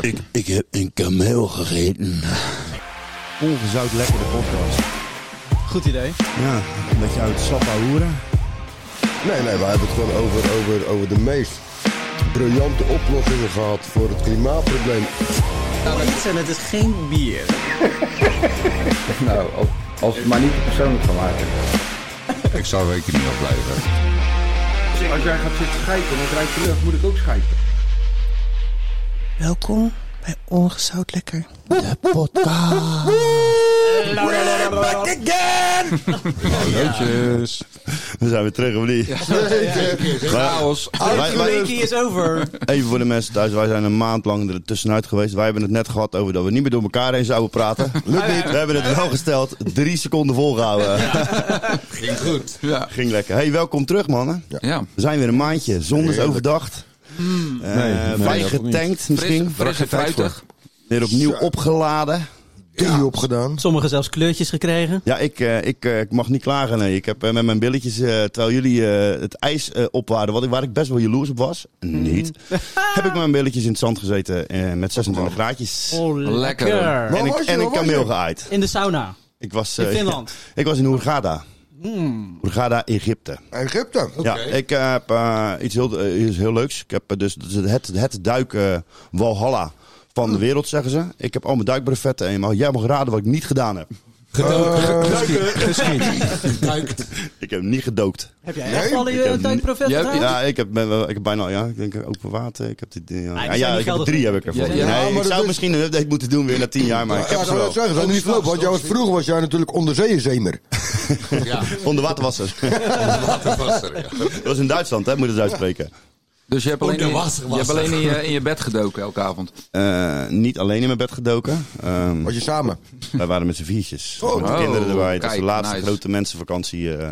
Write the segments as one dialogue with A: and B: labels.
A: Ik, ik heb een kameel gegeten.
B: Ongezout lekker de podcast.
C: Goed idee.
B: Ja, een beetje uit slappa hoeren.
D: Nee, nee, we hebben het gewoon over, over, over de meest briljante oplossingen gehad voor het klimaatprobleem.
C: en Nou, het is geen bier.
E: Nou, als, als het maar niet te persoonlijk van maken.
F: Ik zou weken niet afblijven.
E: Als jij gaat zitten schijten en het rijdt je lucht, moet ik ook schijten.
G: Welkom bij Ongezout Lekker.
A: De podcast.
F: Leutjes.
B: Dan zijn we terug, of niet?
F: Chaos.
B: Wij- wij-
C: Wiki is over.
B: even voor de mensen thuis, wij zijn een maand lang er tussenuit geweest. Wij hebben het net gehad over dat we niet meer door elkaar heen zouden praten. Lukt niet. We hebben het wel gesteld. Drie seconden volgehouden.
F: Ging goed. Ja.
B: Ging lekker. Hey, welkom terug, mannen.
F: ja.
B: We zijn weer een maandje. Zon is
D: Heerlijk.
B: overdacht.
C: Mm.
B: Eh,
F: nee,
B: fijn
F: dat
B: getankt misschien.
F: Fris, fris en fruitig.
B: Weer opnieuw opgeladen.
D: Die opgedaan.
C: Sommigen zelfs kleurtjes gekregen.
B: Ja, ik, eh, ik, eh, ik mag niet klagen. Nee. Ik heb eh, met mijn billetjes, eh, terwijl jullie eh, het ijs eh, opwaarden, wat ik, waar ik best wel jaloers op was,
C: Mm.
B: niet, heb ik met mijn billetjes in het zand gezeten eh, met 26 graadjes.
C: Oh,
F: Lekker.
C: lekker.
D: Waar
B: En ik,
D: was je?
B: en
D: Waar
B: ik
D: was
B: kameel
D: je?
B: geaaid.
C: In de sauna.
B: Ik was,
C: In
B: eh,
C: Finland.
B: ik was in Hurghada.
C: Mm.
B: Hurghada, Egypte.
D: Egypte.
B: Ja, ik eh, heb eh, iets, heel, eh, iets heel leuks. Ik heb eh, dus het, het, het duiken Walhalla van de wereld, zeggen ze. Ik heb al mijn duikbrevetten en je mag- jij mag raden wat ik niet gedaan heb.
D: Eh,
B: Ik heb niet gedookt.
C: Heb jij
D: Nee,
C: echt al
B: ik
C: je
B: heb-
C: duikprofet
F: Ja,
D: Oh.
C: gedaan?
B: Ja, ik heb, ben wel- ik heb bijna, ja, ik denk eh, open water. Ik heb die, die- ja,
C: Nou, die
B: ja,
C: zijn niet
B: ik heb er
C: geldig.
B: drie heb ik ervoor.
F: Ja, ja.
D: Ja,
B: Nee,
D: maar
B: ik
D: dat
B: zou
D: is-
B: misschien een update moeten doen weer na tien jaar, maar ik
D: Ja,
B: heb
D: dat
B: ze
D: wil ik
B: wel.
D: zeggen. Dat is niet leuk, want jij was vroeger was jij natuurlijk onderzeeënzeemer.
B: Onder water was er. Dat was in Duitsland, hè? Moet je het uitspreken.
F: Dus je hebt alleen, in, je, hebt alleen in, je, in je bed gedoken elke avond.
B: Eh, niet alleen in mijn bed gedoken. Ehm,
D: Was je samen?
B: wij waren met z'n viertjes. Gewoon de
F: Oh,
B: kinderen erbij. Dat is de
F: kijk,
B: laatste
F: nice.
B: grote mensenvakantie eh,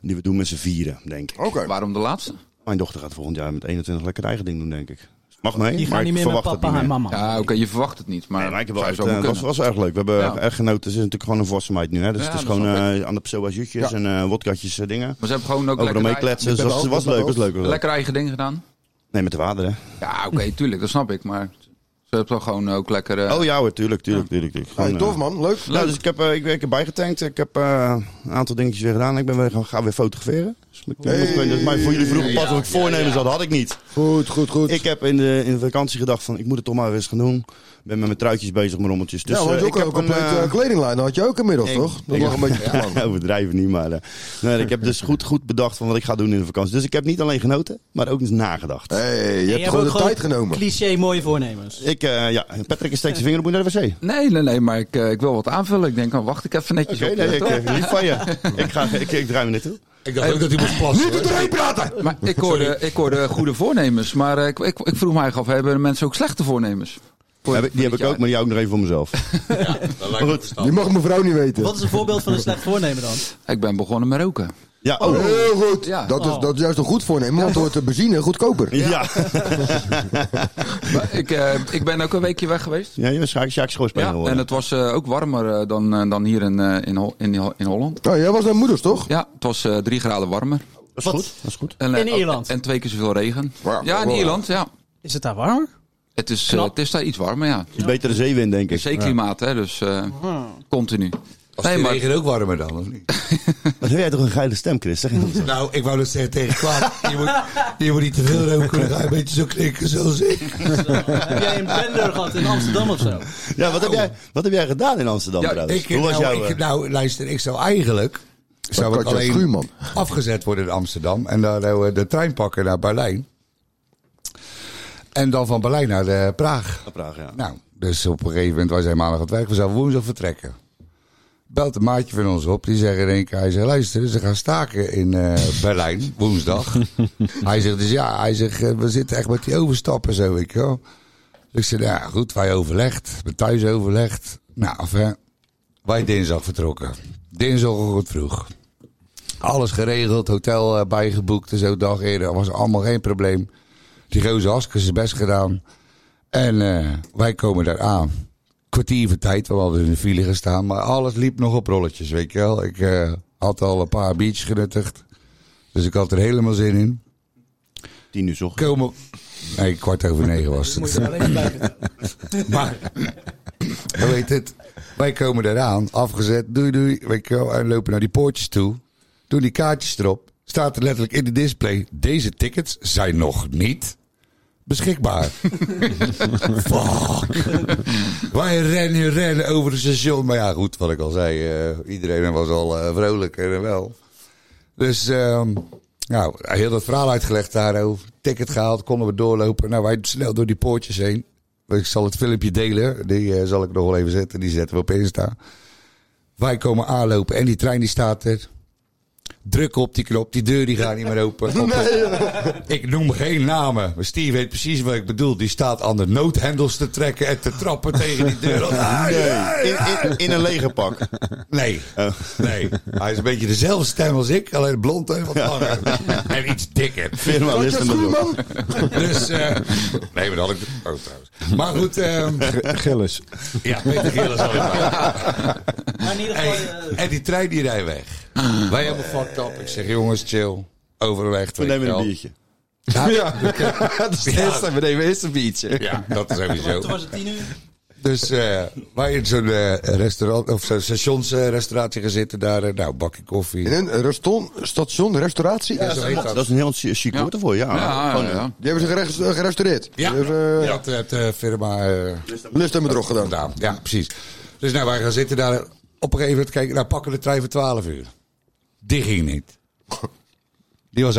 B: die we doen met z'n vieren, denk ik.
D: Oké.
F: Waarom de laatste?
B: Mijn dochter gaat volgend jaar met 21 lekker haar eigen ding doen, denk ik. Mag mee, maar
C: Die gaan niet
B: ik
C: meer met
B: verwacht het
C: papa en
B: niet meer.
C: mama.
F: Ja, oké, je verwacht het niet, maar,
B: Nee, maar ik heb wel
F: zou
B: echt,
F: zo
B: eh,
F: moeten
B: was,
F: kunnen.
B: was erg leuk. We hebben
F: Ja.
B: echt genoten. Het is natuurlijk gewoon een volwassen meid nu. Hè? Dus
F: Ja,
B: het is
F: dat
B: gewoon
F: snap
B: eh, aan de psoasjutjes en eh wodkatjes eh, dingen.
F: Maar ze hebben gewoon ook
B: Overal
F: lekker,
B: mee
F: ei-
B: kletsen. Dus
D: Ik ben
B: was,
D: ook,
B: was
D: ik ben
B: leuk, was
D: ook.
B: leuk. was leuk.
F: lekker eigen ding gedaan.
B: Nee, met de water, hè?
F: Ja, oké, tuurlijk, dat snap ik. Maar ze hebben toch gewoon ook lekker... eh,
B: Hmm. Oh ja hoor, tuurlijk, tuurlijk, tuurlijk. tuurlijk.
D: Hey,
B: Gewoon,
D: tof
B: eh,
D: man, leuk.
B: Nou, dus ik heb, eh, ik, ik heb bijgetankt. Ik heb eh, een aantal dingetjes weer gedaan. Ik ben weer, gaan- ga weer fotograferen. Dus ik moet-
D: Hey.
B: dus maar voor jullie vroegen pas of ik
F: Ja,
B: voornemens had, had ik niet.
D: Goed, goed, goed.
B: Ik heb in de, in de vakantie gedacht van, ik moet het toch maar weer eens gaan doen. Ik ben met mijn truitjes bezig, mijn rommeltjes. Dus,
D: ja, want
B: eh,
D: je
B: ik
D: ook een
B: heb een,
D: complete
B: eh,
D: eh, kledinglijn had je ook inmiddels,
B: ik-
D: toch? Dat
B: ik-
D: lag een beetje te lang.
B: Ja, overdrijven niet, maar eh, nee, ik heb dus goed, goed bedacht van wat ik ga doen in de vakantie. Dus ik heb niet alleen genoten, maar ook eens nagedacht.
D: hey, je
C: En
D: hebt gewoon de
C: ook
D: tijd genomen.
C: Cliché mooie voornemens.
B: Ik, eh, ja, Patrick, je steekt je vinger op, moet je naar de wc.
F: Nee, nee, nee, maar ik, eh, ik wil wat aanvullen. Ik denk, oh, wacht ik even netjes
B: Oké,
F: op.
B: nee,
F: eh,
B: ik,
F: toch?
B: eh, lief van je. Ik, ga, ik, ik draai me niet toe.
H: Ik dacht ook dat hij moest plassen. hoor.
B: Oh,
F: Maar ik hoorde, ik hoorde goede voornemens, maar eh, ik, ik, ik vroeg mij af, hebben mensen ook slechte voornemens? Voor-
B: Heb ik- die heb
F: voor dit
B: ik ook,
F: jaar?
B: maar die hou ik nog even voor mezelf.
H: Dat lijkt me
B: Goed.
H: verstandig.
D: Die mag mevrouw niet weten.
C: Wat is een voorbeeld van een slecht voornemen dan?
F: Ik ben begonnen met roken.
B: Ja, oh.
D: Heel goed.
F: Ja.
D: Dat,
H: oh.
D: is, dat is juist een goed voornemen, want dan wordt de benzine goedkoper.
B: Ja,
F: Maar ik, eh, ik ben ook een weekje weg geweest.
B: ja, ja Sjaak, Sjaak Schoorspeler
F: Ja,
B: geworden.
F: en het was eh, ook warmer eh, dan, eh, dan hier in, eh, in, Hol- in, Hol- in Holland.
D: Nou, jij was naar moeders, toch?
F: Ja, het was eh, drie graden warmer.
B: dat is
C: Wat?
B: goed. Dat is goed.
F: En, eh,
C: In
F: ook-
C: Ierland?
F: En twee keer zoveel regen.
D: Wauw.
F: Ja, in
D: Wow.
F: Ierland, ja.
C: Is het daar warm?
F: Het is, eh,
C: Knap.
F: het is daar iets warmer, ja.
B: Iets betere zeewind, denk ik.
F: Zeeklimaat, hè, dus eh,
C: Hmm.
F: continu.
H: Als die regen ook warmer dan, of niet?
B: Wat heb jij toch een geile stem, Chris? Zeg eens.
H: Nou, ik wou dat zeggen tegen Klaas. Je moet, je moet niet te veel roken, dan ga je een beetje zo knikken zoals ik.
C: Heb jij een bender gehad in Amsterdam of zo?
B: Ja, wat heb, jij, wat heb jij gedaan in Amsterdam
F: Ja,
B: trouwens?
H: oh. ik
B: Hoe was
H: nou,
B: jouw...
H: ik,
B: eh,
H: nou, luister, ik zou eigenlijk... Zou ik
D: Katja
H: alleen
D: Schuurman.
H: afgezet worden in Amsterdam en dan eh, de trein pakken naar Berlijn. En dan van Berlijn naar eh, Praag.
B: Praag, ja.
H: Nou, dus op een gegeven moment, wij zijn maandag aan het werk, we zouden woensdag vertrekken. Belt een maatje van ons op, die zegt in één keer, hij zegt, luister, ze gaan staken in eh, Berlijn, woensdag. hij zegt, dus ja, hij zegt, eh, we zitten echt met die overstappen zo, ik joh. Dus ik zeg, nou ja, goed, wij overlegd, we thuis overlegd. Nou, of, hè, wij dinsdag vertrokken. Dinsdagochtend vroeg. Alles geregeld, hotel eh, bijgeboekt en zo, dag eerder, was allemaal geen probleem. Die gozer Haskes is best gedaan. En eh, wij komen daar aan. Kwartier van tijd, we hadden in de file gestaan. Maar alles liep nog op rolletjes, weet je wel. Ik eh, had al een paar biertjes genuttigd. Dus ik had er helemaal zin in.
B: Tien uur zocht.
H: Komen, Nee, kwart over negen was
I: Moet
H: het.
I: je wel even blijven vertellen.
H: Maar, hoe heet het? Wij komen eraan, afgezet, doei doei. Wij komen en lopen naar die poortjes toe. Doen die kaartjes erop. Staat er letterlijk in de display. Deze tickets zijn nog niet beschikbaar. Fuck. Wij rennen, rennen over het station. Maar ja, goed, wat ik al zei. eh, iedereen was al eh, vrolijk en wel. Dus, ehm, nou, heel dat verhaal uitgelegd daarover. Ticket gehaald, konden we doorlopen. Nou, wij snel door die poortjes heen. Ik zal het filmpje delen. Die eh, zal ik nog wel even zetten. Die zetten we op Insta. Wij komen aanlopen en die trein die staat er. Druk op die knop, die deur die gaat niet meer open. Op de- Ik noem geen namen, maar Steve weet precies wat ik bedoel. Die staat aan de noodhendels te trekken en te trappen tegen die deur. Ah, ja,
B: In,
H: ja.
B: in, in een legerpak.
H: Nee,
B: Oh.
H: nee. Hij is een beetje dezelfde stem als ik, alleen blond en wat langer. En iets dikker.
B: Journalisten bedoel.
H: Dus, eh, nee, maar dat had ik... Oh, trouwens. Maar goed, ehm,
I: Gillis.
H: ja, Peter Gillis al in
C: Maar in ieder geval...
H: Hey,
C: eh,
H: en die trein die rijdt weg. Wij helemaal fucked up. Ik zeg, jongens, chill. Overweg.
B: We nemen een biertje.
H: Ja,
I: Ja, dat is het eerste. We nemen eerst een biertje.
H: ja, dat is sowieso.
C: Toen was het tien uur.
H: Dus eh, wij in zo'n eh, restaurant, of zo'n stationsrestauratie gaan zitten daar. eh, nou, bakje koffie.
D: In een restaurant, station, restauratie?
H: Ja, zo heet dat.
B: Dat is een heel chi- chic woord ervoor, ja.
F: Ja, ja,
B: Ah, Gewoon,
F: ja, ja.
D: Die hebben ze gerest- eh, gerestaureerd.
H: Ja,
D: Die hebben, eh,
H: dat heeft de firma eh,
D: Lust en bedrog gedaan.
H: gedaan. Ja, precies. Dus nou, wij gaan zitten daar. Op een gegeven moment kijken, nou pakken we de trein voor 12 uur. Die ging niet. Die was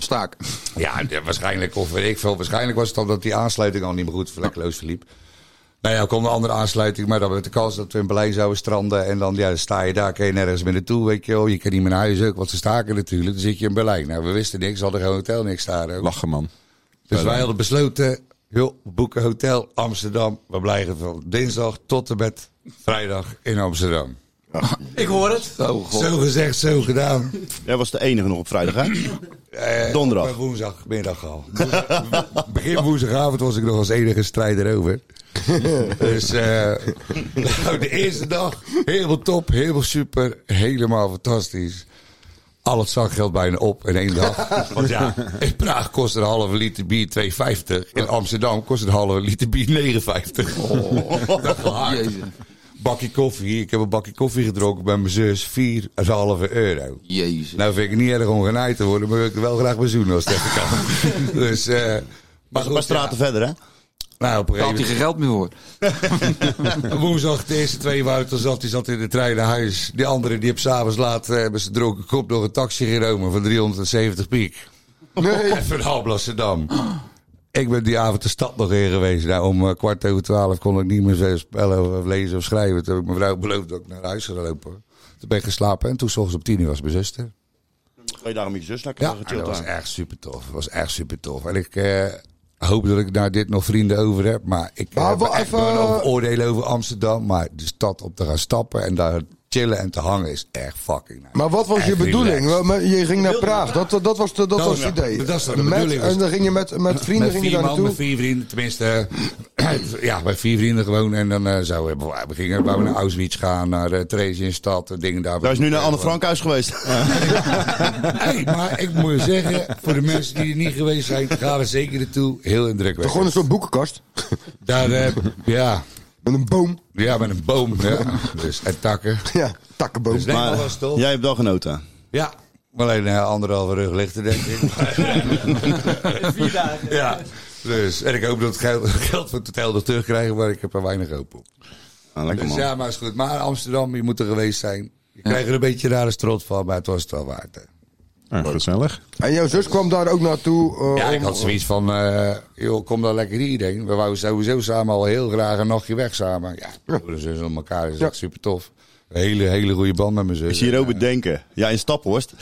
F: Staak.
H: Ja, ja, waarschijnlijk, of weet ik veel. Waarschijnlijk was het dan dat die aansluiting al niet meer goed vlekkeloos verliep. Nou ja, er kwam een andere aansluiting, maar dan met de kans dat we in Berlijn zouden stranden. En dan, ja, dan sta je daar, kan je nergens meer naartoe, weet je wel. Je kan niet meer naar huis ook, want ze staken natuurlijk. Dan zit je in Berlijn. Nou, we wisten niks, we hadden geen hotel, niks daar. ook.
I: Lachen, man.
H: Dus wij hadden besloten, joh, we boeken hotel Amsterdam. We blijven van dinsdag tot en met vrijdag in Amsterdam.
C: Ik hoor het.
F: Oh god.
H: Zo gezegd, zo gedaan.
B: Jij was de enige nog op vrijdag, hè?
H: Eh,
B: Donderdag.
H: Bij woensdagmiddag al. Woensdag- Begin woensdagavond was ik nog als enige strijder over. dus eh, nou, de eerste dag, helemaal top, helemaal super, helemaal fantastisch. Al het zakgeld bijna op in één dag. Want ja, in Praag kost een halve liter bier 2,50. In Amsterdam kost een halve liter bier 9,50. Oh, dat is hard.
F: Jezus.
H: Bakje koffie. Ik heb een bakje koffie gedronken bij mijn zus. 4,5 euro.
F: Jezus.
H: Nou vind ik het niet erg om genaaid te worden, maar wil ik er wel graag bij zoenen als het even kan. dus, eh, maar
B: Een paar
H: goed,
B: straten verder, hè?
H: ja. Nou, op een
F: Daar
H: gegeven
F: had hij geen geld meer voor.
H: moment, woensdag de eerste twee waren toen zat, die zat in de trein naar huis. Die andere, die heb s'avonds laat, eh, hebben ze dronken kop nog een taxi genomen van 370 piek.
D: Nee.
H: Even naar Alblasserdam. Ik ben die avond de stad nog in geweest. Nou, om eh, kwart over twaalf kon ik niet meer zo spellen of lezen of schrijven. Toen heb ik mijn vrouw beloofd dat ik naar huis zou lopen. Toen ben ik geslapen en toen 's ochtends op tien uur was mijn zuster.
B: Ga je daarom met je zus lekker eh,
H: Ja, Ah,
B: gechilld
H: dat was
B: aan?
H: echt super tof. Dat was echt super tof. En ik eh, hoop dat ik daar dit nog vrienden over heb. Maar ik eh,
D: Maar
H: heb
D: wel
H: echt
D: even-
H: wel een oordeel over Amsterdam. Maar de stad op te gaan stappen en daar chillen en te hangen is echt fucking nice.
D: Maar wat was
H: Echt
D: je bedoeling?
H: relaxed.
D: Wa- maar Je ging naar Praag, dat, dat was, de, dat
H: Dat
D: was
H: was-
D: het idee.
H: Nou, dat was de
D: Met-
H: bedoeling.
D: En dan ging je met, met vrienden
H: Met
D: ging je
H: vier
D: daar
H: man, met
D: naartoe?
H: vier vrienden. Tenminste, eh, ja, met vier vrienden gewoon. En dan eh, zo, hebben we, we gingen we naar Auschwitz gaan, naar eh Theresienstadt, eh, dingen daar.
B: Daar is nu naar Anne Frankhuis geweest.
H: Hey, maar ik moet je zeggen, voor de mensen die er niet geweest zijn, gaan we zeker naartoe. Heel indrukwekkend.
D: Gewoon een soort boekenkast.
H: Daar, eh, ja,
D: Met een boom.
H: Ja, met een boom. Ja. Dus, en takken.
D: Ja, takkenboom.
H: Dus nee, maar, was
B: Maar
H: het toch? Ja.
B: jij hebt wel genoten.
H: Maar Alleen eh, anderhalve rug lichter, denk ik.
C: Vier dagen.
H: ja. Dus, en ik hoop dat het geld, geld voor het hotel nog terugkrijgen, maar ik heb er weinig hoop op.
B: Ah, lekker
H: Dus
B: man.
H: ja, maar is goed. Maar Amsterdam, je moet er geweest zijn. Je krijgt er een beetje rare strot van, maar het was het wel waard. hè.
I: Ja, gezellig.
D: En jouw zus kwam daar ook naartoe. eh,
H: Ja, ik
D: om-
H: had zoiets van, eh, joh, kom dan lekker hierheen. We wouden sowieso samen al heel graag een nachtje weg samen. Ja, broeders en zussen op elkaar is echt super tof. Een hele, hele goede band met mijn zus.
B: Ik zie
H: En,
B: Robert denken. Ja, in Staphorst.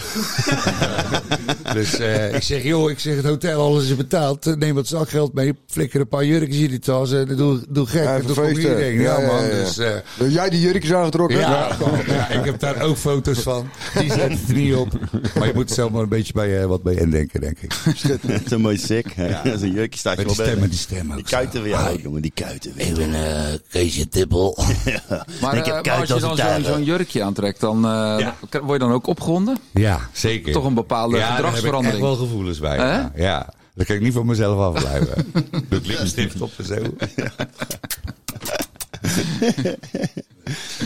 H: Dus eh, ik zeg, joh, ik zeg het hotel, alles is betaald. Eh, Neem wat zakgeld mee, flikker een paar jurkjes in die tas. en doe, doe gek,
D: Even
H: en doe kom
D: feesten.
H: iedereen. Ja,
D: Ja, ja,
H: man,
D: ja.
H: dus... eh,
D: Heb jij die jurkjes aangetrokken?
H: ja, ja, ik heb daar ook foto's van. Die zetten er niet op. Maar je moet er zelf maar een beetje bij, eh, wat bij indenken, denk ik.
B: Dat is een mooi sick. Ja. Dat is een jurkje staat je
H: Met
B: wel
H: die stem,
B: bij.
H: met die stem ook.
B: Die kuiten weer.
F: Ah,
B: Ja, jongen, die kuiten weer.
A: ben eh, Keesje Tippel.
F: Maar,
A: Ik heb
F: eh, maar
A: kuit
F: als je
A: als
F: dan
A: een
F: zo'n
A: tijger.
F: zo'n jurkje aantrekt, dan eh,
H: Ja.
F: k- word je dan ook opgewonden?
H: Ja, zeker.
F: Toch een bepaalde
H: daar heb ik echt
F: gedragsverandering.
H: wel gevoelens bij.
F: Hè?
H: Ja. ja. Dat kan ik niet van mezelf afblijven. Doe ik lippenstift op en zo.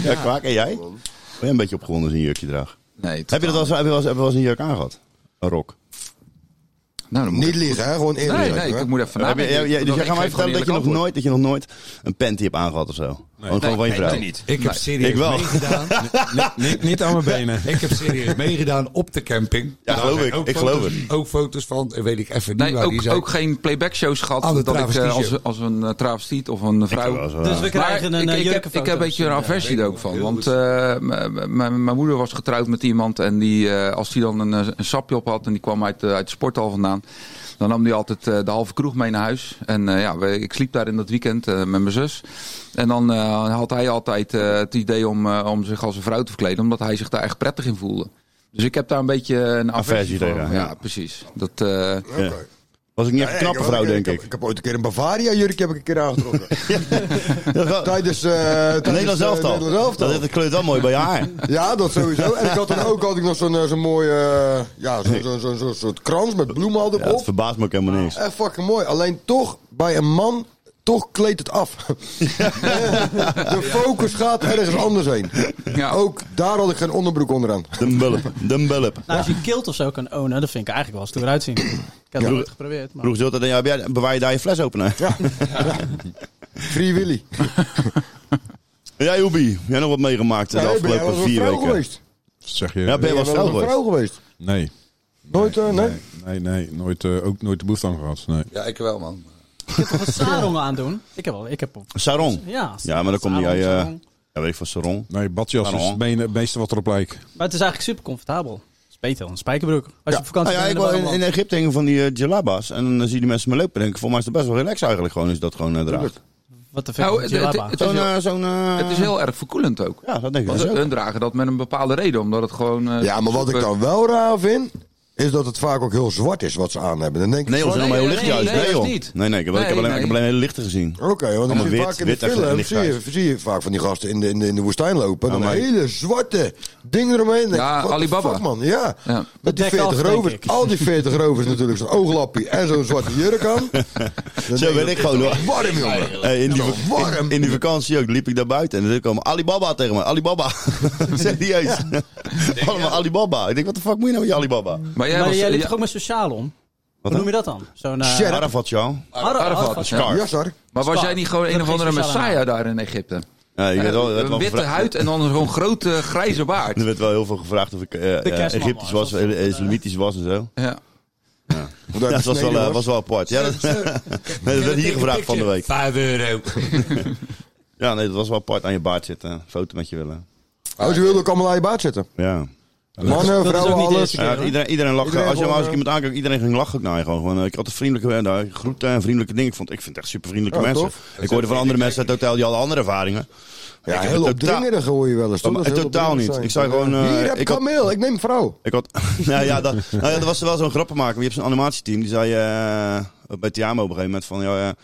B: Ja, kwaak. En jij? Ben je een beetje opgewonden als je een jurkje draagt?
F: Nee,
B: Heb je dat wel eens, heb je wel eens, heb je wel eens een jurk aangehad? Een rok?
F: Nou, dan moet
D: Niet liegen, hè? gewoon eerlijk.
F: Nee,
D: hè?
F: Nou, nee, ik moet even
B: Heb je,
F: nadenken.
B: ja, ja, dus
F: Ik
B: jij gaat mij
F: geef gewoon
B: vertellen dat je, nog
F: eerlijk antwoord.
B: nooit, dat je nog nooit een panty hebt aangehad of zo? Gewoon, gewoon van je vrouw?
H: niet.
J: Ik heb serieus
B: Ik wel.
J: meegedaan. Nee, nee,
I: Niet aan mijn benen.
J: ik heb serieus mee.
H: Meegedaan op de camping.
B: Ja, geloof
H: zijn
B: ik.
H: ook
B: Ik
H: foto's-
B: geloof het.
H: Ook foto's van, eh, weet ik even niet waar
F: Nee,
H: die
F: ook,
H: zijn.
F: ook geen playback shows gehad.
H: Oh, de
F: dat ik eh,
H: travestieshow.
F: als, als een eh, travestiet of een vrouw.
B: wel zo, ja.
C: Dus we
F: Maar
C: krijgen een
F: ik,
C: eh,
F: ik, heb, ik heb
C: jurkenfoto's.
F: een beetje een aversie er ook van. Want eh, m- m- mijn mijn moeder was getrouwd met iemand. En die, eh, als die dan een, eh, een sapje op had. En die kwam uit, eh, uit de sporthal vandaan. Dan nam die altijd eh, de halve kroeg mee naar huis. En eh, ja, we- ik sliep daar in dat weekend eh, met mijn zus. En dan eh, had hij altijd eh, het idee om, eh, om zich als een vrouw te verkleden. Omdat hij zich daar echt prettig in voelde. Dus ik heb daar een beetje een aversie,
B: Aversie
F: voor.
B: tegen,
F: ja.
B: ja.
F: precies. Dat, eh,
D: Oké.
B: Ja. Was ik niet echt een knappe vrouw, denk
D: heb-
B: ik.
D: Ik heb ooit een keer een Bavaria-jurk heb ik een keer aangetrokken. Tijdens... eh tijdens,
B: Een Nederlands
D: eh,
B: elftal.
D: Nederlands elftal.
B: Dat, dat kleurt wel mooi bij je haar.
D: Ja, dat sowieso. En ik had dan ook had ik nog zo'n eh, zo'n mooie... eh, ja, zo'n zo'n zo'n zo'n soort krans met bloemen al
B: Ja, dat
D: erop.
B: verbaast me ook helemaal niks.
D: Echt fucking mooi. Alleen toch, bij een man, toch kleedt het af. De focus gaat ergens anders heen.
F: ja,
D: Ook daar had ik geen onderbroek onderaan.
B: De bulp, de bulp.
C: Nou, als je een kilt of zo kan ownen, dat vind ik eigenlijk wel stoer uitzien. Ik heb het nooit geprobeerd. Maar...
B: Vroeg zult dat, ja, heb jij- bewaar je daar je fles opener?
D: Ja. Free Willy.
B: Jij, Oebi, jij nog wat meegemaakt de
D: Ja, ben jij wel
B: afgelopen
D: eens een
B: vier
D: vrouw
B: weken?
D: geweest?
I: Zeg je?
B: Ja, ben je wel
D: eens
B: vrouw
D: een
B: geweest?
D: vrouw geweest?
I: Nee.
D: Nooit, eh, nee?
I: Nee, nee. Nooit, eh, ook nooit de behoefte aan gehad. Nee.
H: Ja, ik wel, man.
C: Ik heb toch een sarong aandoen? Ik heb wel, ik heb...
B: Sarong.
C: Ja,
B: Ja, maar dan kom eh, je,
C: sarong,
B: ja, ja.
C: sarong.
B: Ja, weet ik van sarong.
I: Nee, badjas is
B: Waarom?
I: het me- het meeste wat erop lijkt.
C: Maar het is eigenlijk super comfortabel. Het is beter dan een spijkerbroek. Als je op
B: Nou
C: vakantie
B: ja, ik
C: bent
B: wel
C: in de
B: in, in Egypte hingen van die eh, djellabas. En dan zie je die mensen me lopen en denk ik, volgens mij is het best wel relaxed eigenlijk gewoon, is dat gewoon eh, draagt.
C: Wat de fuck
F: Nou,
C: is
F: het,
C: een
F: het,
C: djellaba?
F: het is
B: Zo'n,
F: heel,
B: eh, zo'n... eh,
F: het is heel erg verkoelend ook.
B: Ja, dat denk ik
F: Want
B: dus ook.
F: hun dragen dat met een bepaalde reden, omdat het gewoon... eh,
D: Ja, maar wat ik
F: super-
D: dan wel raar vind, is dat het vaak ook heel zwart is wat ze aan hebben. Dan denk ik,
B: Nee, joh, ze
F: Nee,
B: allemaal heel
F: nee,
B: licht
F: nee,
B: juist.
F: nee,
B: Nee,
F: dat
B: joh.
F: is niet.
B: Nee, nee, ik heb wel- ik heb
F: Nee,
B: alleen- ik
F: nee.
B: heb alleen hele lichte gezien.
D: oké, want ik
B: Allemaal
D: zie
B: wit,
D: vaak in
B: wit
D: de
B: en
D: film,
B: licht
D: zie je,
B: uit.
D: zie je vaak van die gasten in de, in de, in de woestijn lopen. En
B: Ja,
D: een
B: maar-
D: hele zwarte ding eromee. En dan
F: Ja,
D: denk ik, what the
F: Alibaba.
D: fuck, man, ja.
F: Ja.
D: Met die
C: Dek af,
D: 40
C: denk
D: rovers.
C: ik.
D: Al die 40 rovers natuurlijk. Zo'n ooglappie en zo'n zwarte jurk aan. Dan
B: Zo
D: denk
B: ben
D: ik,
B: ik gewoon hoor.
D: Warm, jongen.
B: Hey, in, die,
D: Ja, warm.
B: in, in die vakantie ook liep ik daar buiten en er kwam Alibaba tegen me. Alibaba. Serieus. Allemaal Alibaba. Ik denk, wat de fuck moet je nou met je Alibaba?
F: Maar jij
C: maar
F: was...
C: jij liep
F: ja,
C: toch ook met sociaal om? Hoe
B: dan?
C: noem je dat dan? Zo'n... eh,
D: Sheriff.
B: Arafat, jou.
C: Arafat,
F: Arafat,
C: Ah, Arafat,
F: ja.
D: Ja, sorry.
F: maar was
C: Scar.
F: jij niet gewoon
C: Ik heb
F: een of andere
C: geen sociale
F: messiah daar in Egypte?
B: Ja, ik werd wel, werd
F: Een
B: wel
F: witte
B: gevra-
F: huid en dan zo'n grote grijze
B: Er
F: baard.
B: werd wel heel veel gevraagd of ik eh, eh,
C: kerstman
B: Egyptisch
C: was,
B: was,
C: of,
B: eh, islamitisch was en zo.
F: Ja.
D: Omdat
B: Ja,
D: hij
B: dat was wel,
D: besneden
B: eh, was wel apart. Ja, dat, nee, dat werd hier gevraagd van de week.
J: 5 euro.
B: Ja, nee, dat was wel apart. Aan je baard zitten, een foto met je willen.
D: Oh, ze wilden ook allemaal aan je baard zitten.
B: Ja.
D: Mannen,
C: dat is ook
D: vrouwen,
C: niet de
D: alles.
C: eerste keer.
B: Ja,
C: hoor.
B: iedereen, iedereen lacht.
D: Iedereen
B: als je maar als ik
D: gewoon,
B: iemand aankijkt, iedereen ging lachen ook naar je gewoon. gewoon eh, ik had een vriendelijke eh, nou, groeten en vriendelijke dingen. Ik, vond, ik vind het echt super vriendelijke
D: Ja,
B: mensen.
D: tof.
B: Ik hoorde van andere mensen uit het hotel die hadden andere ervaringen.
D: Ja,
B: Ik heb
D: heel
B: het totaal-
D: opdringerig hoor je wel eens. toch?
B: Maar
D: Dat is heel
B: totaal
D: opdringerig
B: niet.
D: zijn.
B: Ik zei gewoon, eh,
D: Hier heb
B: ik
D: ik
B: had-
D: kameel, ik neem vrouw.
B: Ik had, nou ja, dat, nou ja, er was wel zo'n grappenmaker. Je hebt zo'n animatieteam. Die zei eh, bij Tiamo op een gegeven moment van... Ja, eh,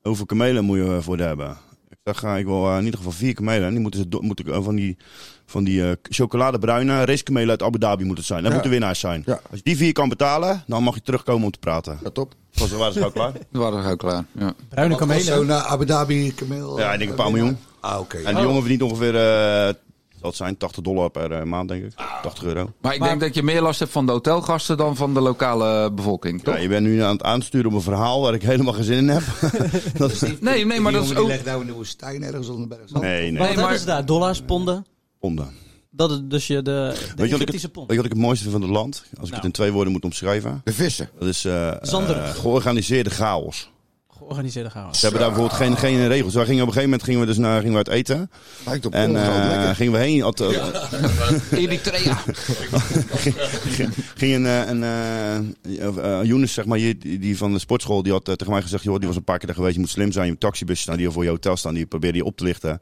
B: hoeveel kamelen moet je eh, voor de hebben? Ik zeg, eh, ik wil eh, in ieder geval vier kamelen. En die moeten ze do- moeten, eh, van die, van die eh, chocoladebruine racekamelen uit Abu Dhabi moeten het zijn. Dat
D: Ja.
B: moeten winnaars zijn.
D: Ja.
B: Als je die vier kan betalen, dan mag je terugkomen om te praten.
D: Ja, top.
B: Was, waren ze gauw klaar?
F: Dat waren we ook klaar. Ja.
C: Bruine
H: Wat was
C: kamelen.
H: zo'n eh, Abu Dhabi kameel?
B: Ja, ik denk een paar miljoen.
H: Ah, oké.
B: En die jongen verdient ongeveer... eh, dat zijn 80 dollar per eh, maand, denk ik.
D: Ah.
B: 80 euro.
F: Maar ik denk dat je meer last hebt van de hotelgasten dan van de lokale bevolking, toch?
B: Ja, je bent nu aan het aansturen op een verhaal waar ik helemaal geen zin in heb. dat,
F: Nee, nee, maar dat is
H: Die
F: ook...
H: legt nou in de woestijn ergens onder berg.
B: nee,
C: Wat
B: nee.
F: maar-
C: hebben ze daar? Dollars, ponden?
B: Ponden.
C: Dat is dus je de, de
B: Weet je, wat ik het,
C: Egyptische
B: weet je
C: pond.
B: wat ik het mooiste vind van het land? Als ik
C: Nou.
B: het in twee woorden moet omschrijven.
D: De vissen.
B: Dat is eh,
C: Zanderig.
B: eh, georganiseerde chaos.
C: Georganiseerde chaos.
B: Ze hebben daar bijvoorbeeld geen, geen regels. Wij gingen op een gegeven moment gingen we dus naar, gingen we uit eten.
D: Lijkt op
B: En
D: ongehouden
B: eh,
D: Oh, nou, lekker.
B: gingen we heen. Had, eh,
F: Eritrea.
B: ging een, eh, een eh, eh, eh, Younes, zeg maar, hier, die die van de sportschool, die had eh, tegen mij gezegd, joh, die was een paar keer daar geweest, je moet slim zijn, je hebt taxibusjes staan die al voor je hotel staan, die probeerde je op te lichten.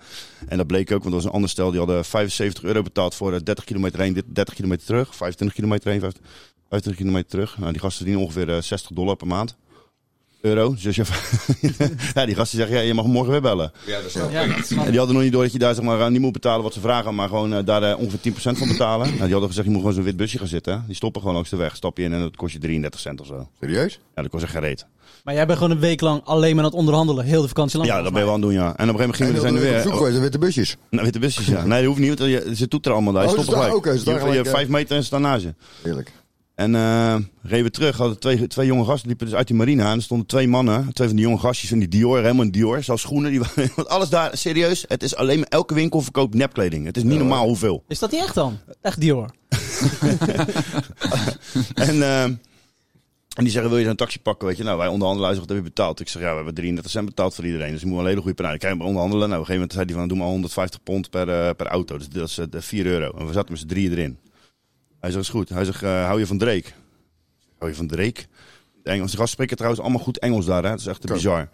B: En dat bleek ook, want er was een ander stel, die hadden 75 euro betaald voor eh, 30 kilometer heen, dit- 30 kilometer terug, 25 kilometer heen, 50 25 kilometer terug. Nou, die gasten verdienen ongeveer eh, 60 dollar per maand. euro. Dus je- ja, die gasten zeggen, ja, je mag morgen weer bellen.
H: Ja, dat snap
C: Ja, dat snap
B: En
C: ik.
B: die hadden nog niet door dat je daar zeg maar, eh, niet moet betalen wat ze vragen, maar gewoon eh, daar eh, ongeveer 10% van betalen. Nou, die hadden gezegd, je moet gewoon zo'n wit busje gaan zitten. hè. Die stoppen gewoon langs de weg. Stap je in en dat kost je 33 cent of zo.
H: Serieus?
B: Ja, dat kost echt geen reet.
C: Maar jij bent gewoon een week lang alleen maar aan het onderhandelen. Heel de vakantie lang.
B: Ja, dat ben je wel aan het doen, ja. En op een gegeven moment gingen we er zijn er
D: op
B: weer...
D: zoek geweest naar witte busjes.
B: Nou, witte busjes, ja. Nee, dat hoeft niet, want je- ze toeteren allemaal daar.
D: Oh,
B: Je
D: ze
B: stopt er
D: staan-
B: gelijk.
D: oké, ze
B: je
D: staan
B: hoeft- je hebt
D: gelijk,
B: vijf meter en ze staan naast je.
D: Heerlijk.
B: En eh, reden we terug, hadden twee, twee jonge gasten, liepen dus uit die marina. En er stonden twee mannen, twee van die jonge gastjes in die Dior, helemaal in Dior. Zelfs schoenen, die, waren- want alles daar, serieus. Het is alleen maar, elke winkel verkoopt nepkleding. Het is niet normaal hoeveel.
C: Is dat niet echt dan? Echt Dior.
B: En, ehm, en die zeggen, wil je zo'n taxi pakken? Weet je, nou, wij onderhandelen, hij zegt, wat heb je betaald? Ik zeg, ja, we hebben 33 cent betaald voor iedereen. Dus je moet wel een hele goede prijs. Ik kan onderhandelen. Nou, op een gegeven moment zei hij van, doe maar 150 pond per, eh, per auto. Dus dat is eh, 4 euro. En we zaten met z'n drieën erin. Hij zegt, is goed. Hij zegt, eh, hou je van Drake? Ik zeg, Hou je van Drake? De Engelse gasten spreken trouwens allemaal goed Engels daar, hè? Dat is echt bizar.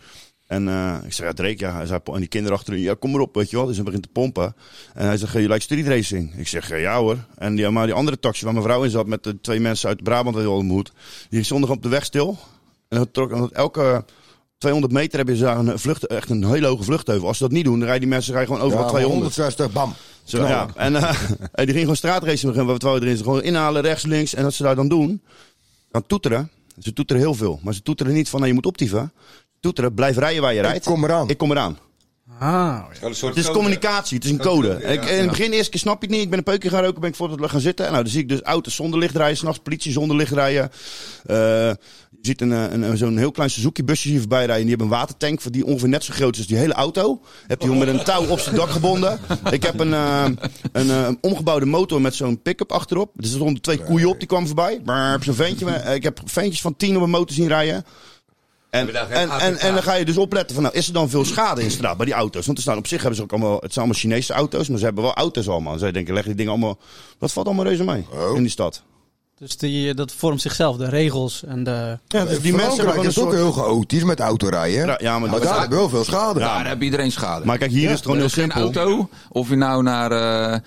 B: En eh, ik zeg, ja, Drake, ja. Hij zei, en die kinderen achterin, ja, kom maar op, weet je wel. Dus hij begint te pompen. En hij zegt, eh, je lijkt street racing. Ik zeg, eh, ja hoor. En die, maar die andere taxi waar mijn vrouw in zat met de twee mensen uit Brabant die ontmoet. Die stonden gewoon op de weg stil. En dat trok, want elke 200 meter heb je daar een vlucht, echt een hele hoge vluchtheuvel. Als ze dat niet doen, dan rijden die mensen rijden gewoon overal
D: Ja,
B: 200.
D: 160, bam.
B: Zo, ja. En, eh, en die ging gewoon straatracen beginnen. Wat wou erin? Ze gewoon inhalen, rechts, links. En wat ze daar dan doen, dan toeteren. Ze toeteren heel veel. Maar ze toeteren niet van, nou, je moet optieven. Toeteren, blijf rijden waar je rijdt.
D: Ik kom eraan.
B: Ik kom eraan.
C: Ah,
B: Het is communicatie, het is een code. En ik, in het begin, de eerste keer snap je het niet. Ik ben een peukje gaan roken, ben ik voor het gaan zitten. Nou, dan zie ik dus auto's zonder licht rijden, s'nachts politie zonder licht rijden. Eh, je ziet een, eh, een, een- zo'n heel klein Suzuki busje hier voorbij rijden. Die hebben een watertank voor die ongeveer net zo groot is als die hele auto. Heb die met een touw op zijn dak gebonden. Ik heb een, eh, een, eh, een omgebouwde motor met zo'n pick-up achterop. Dus er stonden twee koeien op, die kwamen voorbij. Maar zo'n ventje. eh, Ik heb ventjes van tien op een motor zien rijden. En, en, en, en dan ga je dus opletten van, nou, is er dan veel schade in straat bij die auto's? Want er staan op zich hebben ze ook allemaal, het zijn allemaal Chinese auto's, maar ze hebben wel auto's allemaal. Zij denken, leg die dingen allemaal, dat valt allemaal reuze mee in die stad.
C: dus die, dat vormt zichzelf. De regels en de...
B: Ja, dus die mensen hebben
D: Frankrijk
B: gewoon een
D: is ook
B: soort...
D: heel chaotisch met autorijden.
B: Ja, ja, maar dat-
D: daar hebben we wel veel schade.
F: Daar heb iedereen schade.
B: Maar kijk, hier is het gewoon
F: Er
B: heel
F: is Eh, geen
B: simpel.
F: auto, of je nou naar eh,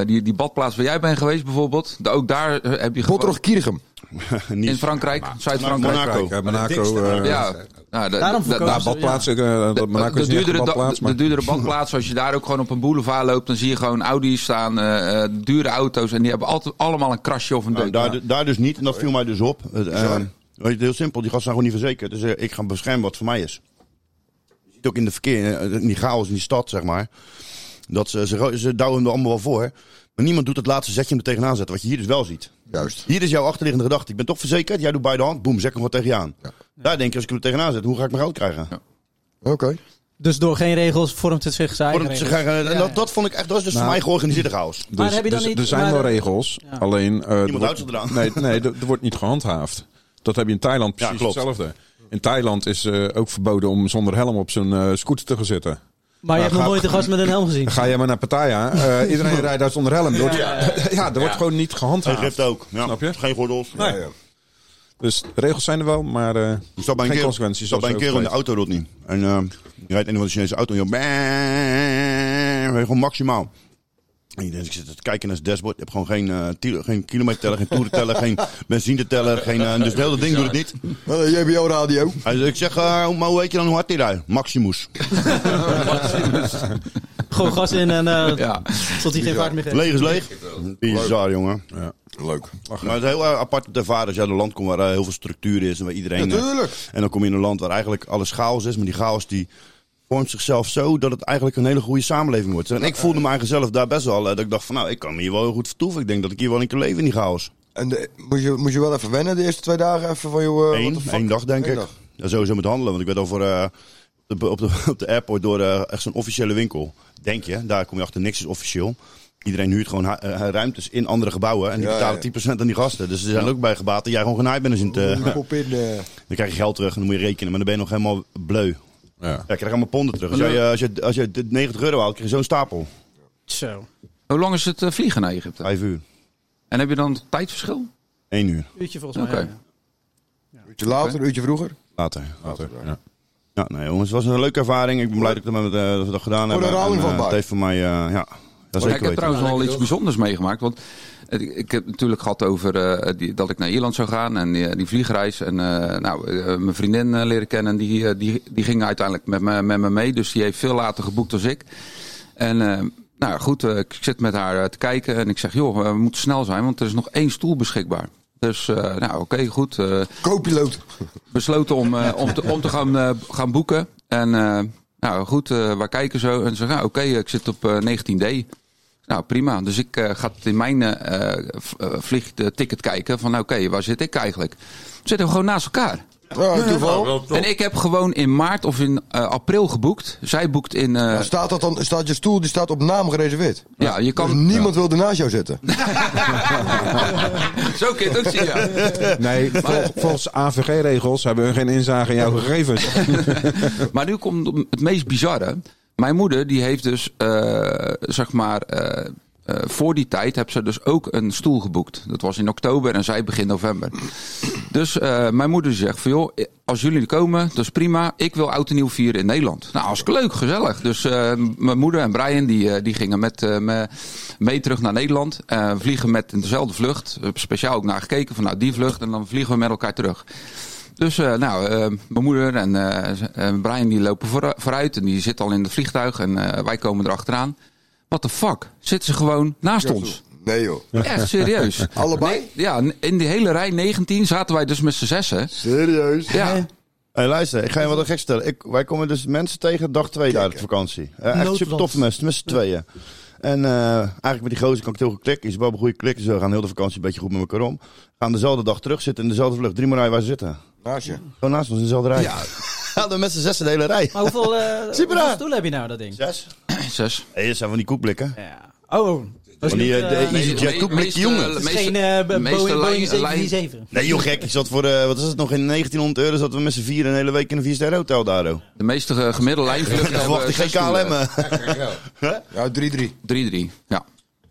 F: eh, die, die badplaats waar jij bent geweest bijvoorbeeld. da- Ook daar eh, heb je gewoon...
D: Potter of Kiergem.
B: Niet.
F: In Frankrijk, Zuid-Frankrijk.
B: Monaco.
I: Kijk, eh, Monaco. eh,
F: Ja, nou, da-
C: Daarom
F: da-
C: verkozen
F: daar
I: Daar
C: ze,
I: badplaatsen. eh, dat-
F: De,
I: Monaco
F: de,
I: is niet echt
F: duurdere da-
I: een badplaats,
F: de
I: maar...
F: duurdere badplaats, als je daar ook gewoon op een boulevard loopt, dan zie je gewoon Audi's staan, eh, eh, dure auto's. En die hebben altijd allemaal een krasje of een
B: Nou,
F: deuk.
B: daar, daar dus niet, en dat viel mij dus op. Het, eh, weet je, heel simpel, die gasten zijn gewoon niet verzekerd. Dus eh, ik ga beschermen wat voor mij is. Je ziet ook in de verkeer, eh, in die chaos in die stad, zeg maar. Dat ze, ze, ze douwen er allemaal wel voor. Maar niemand doet het laatste zetje om er tegenaan te zetten, wat je hier dus wel ziet.
D: Juist.
B: Hier is jouw achterliggende gedachte. Ik ben toch verzekerd. Jij doet beide hand. Boem, zet hem gewoon tegen je aan. Daar denk je, als ik hem er tegenaan zet, hoe ga ik mijn geld krijgen?
D: Oké.
C: Dus door geen regels vormt het zich zijn
B: Wordt
C: eigen
B: het zich eh,
C: regels.
B: eigen- en dat, dat vond ik echt, dat is dus voor mij georganiseerde chaos.
I: Dus,
C: Maar heb je dan
I: dus
C: niet-
I: er zijn
C: maar-
I: wel regels, alleen... eh, er
B: houdt zich eraan.
I: Nee, nee er, er wordt niet gehandhaafd. Dat heb je in Thailand precies
B: klopt.
I: hetzelfde. In Thailand is eh, ook verboden om zonder helm op zo'n eh, scooter te gaan zitten.
C: Maar je hebt nog nooit een gast met een helm gezien.
I: Ga jij maar naar Pattaya, eh, iedereen rijdt daar zonder helm. Er wordt- Ja, er wordt gewoon niet
B: Hij
I: gehandhaafd.
B: geeft ook. Ja.
I: Snap je?
B: Geen gordels.
I: Nee. Dus de regels zijn er wel, maar eh,
B: Ik zat bij een
I: geen
B: keer,
I: consequenties.
B: ik zat bij een
I: zoals
B: keer in de
I: je ook
B: auto, Rodney. En eh je rijdt in een van de Chinese auto en je hoort bang, gewoon maximaal. En je denkt, ik zit te kijken naar het dashboard. Je hebt gewoon geen, eh tilo- geen kilometerteller, geen toerenteller, geen benzineteller. Geen, eh, dus het hele ding doet het niet.
D: Eh, JBL Radio.
B: Hij zegt, ik zeg, eh, maar hoe heet je dan hoe hard die rijdt? Maximus.
C: Gewoon gas in en eh,
F: Ja.
C: tot hij geen vaart meer geeft.
B: Leeg is leeg. Bizar, jongen.
D: Leuk.
B: Maar het is heel eh, apart om te ervaren als je uit een land komt waar eh, heel veel structuur is en waar iedereen... eh,
D: Natuurlijk.
B: en dan kom je in een land waar eigenlijk alles chaos is, maar die chaos die vormt zichzelf zo dat het eigenlijk een hele goede samenleving wordt. En ik voelde me eigenlijk zelf daar best wel, eh, dat ik dacht van nou, ik kan me hier wel heel goed vertoeven. Ik denk dat ik hier wel een keer leef in die chaos.
D: En de- moest, je, moest je wel even wennen de eerste twee dagen? Even van, joh, eh, what
B: Eén,
D: the fuck?
B: één dag denk
D: Eén
B: ik.
D: dag.
B: Ja, sowieso met handelen, want ik werd over eh op, de, op, de, op de airport door eh, echt zo'n officiële winkel. Denk je, daar kom je achter, niks is officieel. Iedereen huurt gewoon hu- eh, ruimtes in andere gebouwen en die
D: Ja,
B: betalen
D: ja.
B: 10% aan die gasten. Dus ze zijn ook bij gebaat dat jij gewoon genaaid bent. als je het, eh,
D: Pop in, eh,
B: Dan krijg je geld terug en dan moet je rekenen, maar dan ben je nog helemaal bleu. Ja,
I: weet. Ja.
B: je krijgt allemaal ponden terug. Als je, als je, als je dit 90 euro haalt, krijg je zo'n stapel.
C: Zo.
F: Hoe lang is het eh, vliegen naar Egypte?
B: Vijf uur.
F: En heb je dan tijdverschil?
B: 1 uur
C: Uurtje volgens mij.
F: Oké.
C: ja.
D: een uurtje later, een uurtje vroeger.
B: later.
I: Later, ja.
B: Ja, nee jongens, het was een leuke ervaring. Ik ben blij dat, ik dat, met, eh, dat we dat gedaan
D: daar
B: hebben.
D: hou ik
B: En, eh,
D: van, Bart.
B: het heeft voor mij, eh, ja, dat
F: Maar
B: zeker
F: ik heb
B: weten.
F: trouwens al iets bijzonders meegemaakt. Want Het- Ik heb het natuurlijk gehad over eh, die, dat ik naar Ierland zou gaan en die, die vliegreis. En eh, nou, eh, mijn vriendin eh, leren kennen, die, eh, die, die ging uiteindelijk met me, met me mee. Dus die heeft veel later geboekt dan ik. En eh, nou ja, goed, eh, ik zit met haar eh, te kijken en ik zeg, joh, eh, we moeten snel zijn, want er is nog één stoel beschikbaar. Dus eh, nou, oké, goed. eh,
D: Co-piloot.
F: besloten om, eh, om, te, om te gaan, eh, gaan boeken. En eh, nou goed, eh wij kijken zo. En ze zeggen, nou, oké, ik zit op eh, 19D. Nou prima, dus ik eh, ga in mijn eh, eh, v- eh, vliegticket kijken van nou, oké, waar zit ik eigenlijk? Zitten we gewoon naast elkaar.
D: Ja, toeval.
F: En ik heb gewoon in maart of in eh, april geboekt. Zij boekt in... eh,
D: Maar Staat, dat dan, staat je stoel die staat op naam gereserveerd?
F: ja, je
D: Dus
F: kan...
D: niemand wil ernaast jou zitten.
F: Zo kun je het ook zien, ja.
I: Nee, vol- volgens AVG-regels hebben hun geen inzage in jouw gegevens.
F: Maar nu komt het meest bizarre. Mijn moeder die heeft dus, eh, zeg maar, eh, eh, voor die tijd heb ze dus ook een stoel geboekt. Dat was in oktober en zij begin november. Dus eh, mijn moeder zegt van joh, als jullie komen, dat is prima. Ik wil oud en nieuw vieren in Nederland. Nou, hartstikke leuk, gezellig. Dus eh, mijn moeder en Brian die, eh, die gingen met, eh, me mee terug naar Nederland. Eh, vliegen met dezelfde vlucht. Ik heb Speciaal ook naar gekeken van nou die vlucht en dan vliegen we met elkaar terug. Dus eh, nou, eh, mijn moeder en eh, z- eh, Brian die lopen voor- vooruit en die zitten al in het vliegtuig en eh, wij komen erachteraan. What the fuck? Zitten ze gewoon naast ons?
D: Nee joh.
F: Echt serieus.
D: Allebei?
F: Nee, ja, in die hele rij 19 zaten wij dus met z'n zessen.
D: Serieus?
F: Ja,
B: Hey, luister, ik ga je wat gek stellen. Ik, wij komen dus mensen tegen dag twee daar op vakantie. Eh, echt
C: Noodland.
B: super toffe mensen, met z'n tweeën. En eh, eigenlijk met die gozer kan ik het heel goed klikken. Is wel een goede klik. Ze gaan heel de vakantie een beetje goed met elkaar om. Gaan dezelfde dag terug zitten in dezelfde vlucht. Drie maar rij waar ze zitten.
D: Naast je.
B: Gewoon naast ons in dezelfde rij. Ja. dan met z'n zes de hele rij.
C: Maar hoeveel, eh
B: Super
C: hoeveel
B: aan.
C: stoelen heb je nou, dat ding?
B: Zes?
F: zes.
B: Hé, dat zijn van die koekblikken.
C: Ja. Oh, dat is
B: Van die
C: niet,
B: eh,
C: eh,
B: de EasyJet
F: me-
B: koekblikje,
F: meeste-
B: jongen.
C: het is
F: meeste-
C: geen eh, Bo-
F: meeste
C: Boeing, Boeing
F: lijn- lijn-
C: 747.
B: Nee joh, gek. Ik zat voor, eh, wat is het nog, in 1900 euro zat we met z'n vier een hele week in een vierster hotel daar. joh.
F: De meeste eh, gemiddelde lijnvluchten.
B: Dan verwacht ik geen KLM. eh.
D: Ja, 3-3.
F: 3-3. Ja.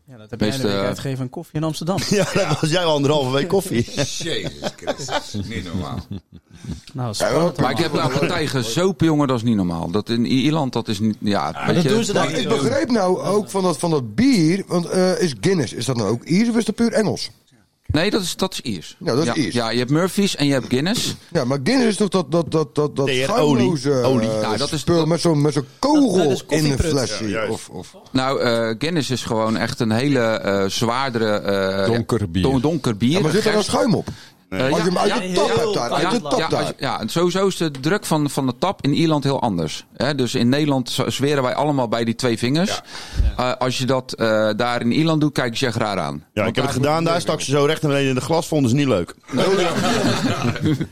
C: Ja, dat heb jij
F: Meest,
C: een week
F: eh,
C: uitgegeven aan koffie in Amsterdam.
B: Ja, dat was jij al anderhalve week koffie.
H: Jezus Christus, niet normaal.
C: Nou, dat is
D: Ja,
C: spannend.
D: dat-
F: Maar ik heb daar getijgen zopen, jongen, dat is niet normaal. Dat in Ierland, dat is niet. Ja, weet
C: Ah, dat
F: je,
C: doen ze daar
D: Maar ik begreep nou ook van dat, van dat bier, want eh, is Guinness, is dat nou ook Iers of is dat puur Engels?
F: Nee, dat is, dat is Iers.
D: Ja, dat is
F: ja,
D: Iers.
F: Ja, je hebt Murphy's en je hebt Guinness.
D: Ja, maar Guinness is toch dat, dat, dat, dat, dat
B: Tegen
D: goudloze
B: olie. Olie.
D: eh,
F: Nou, dat is-
D: spul
F: dat-
D: met zo'n met zo'n
C: Dat-
D: kogel
C: dat is
D: in een
C: koffieprut.
D: flesje.
B: Ja, juist.
D: of, of.
F: Nou, eh, Guinness is gewoon echt een hele eh, zwaardere... eh,
I: Donker bier.
F: don- donker bier.
D: Ja, maar zit er dan
F: Gerst-
D: schuim op?
F: Eh,
D: Als je hem uit de
C: ja,
D: tap
C: heel
D: hebt daar, uit de
C: ja,
D: tap
F: ja, als-
D: daar.
F: ja, en sowieso is de druk van, van de tap in Ierland heel anders. Hè? Dus in Nederland z- zweren wij allemaal bij die twee vingers. Eh, als je dat eh, daar in Ierland doet, kijk je je raar aan.
B: Ja, ik heb het gedaan. Daar stak ze zo recht naar beneden in de glas. Vonden ze niet leuk.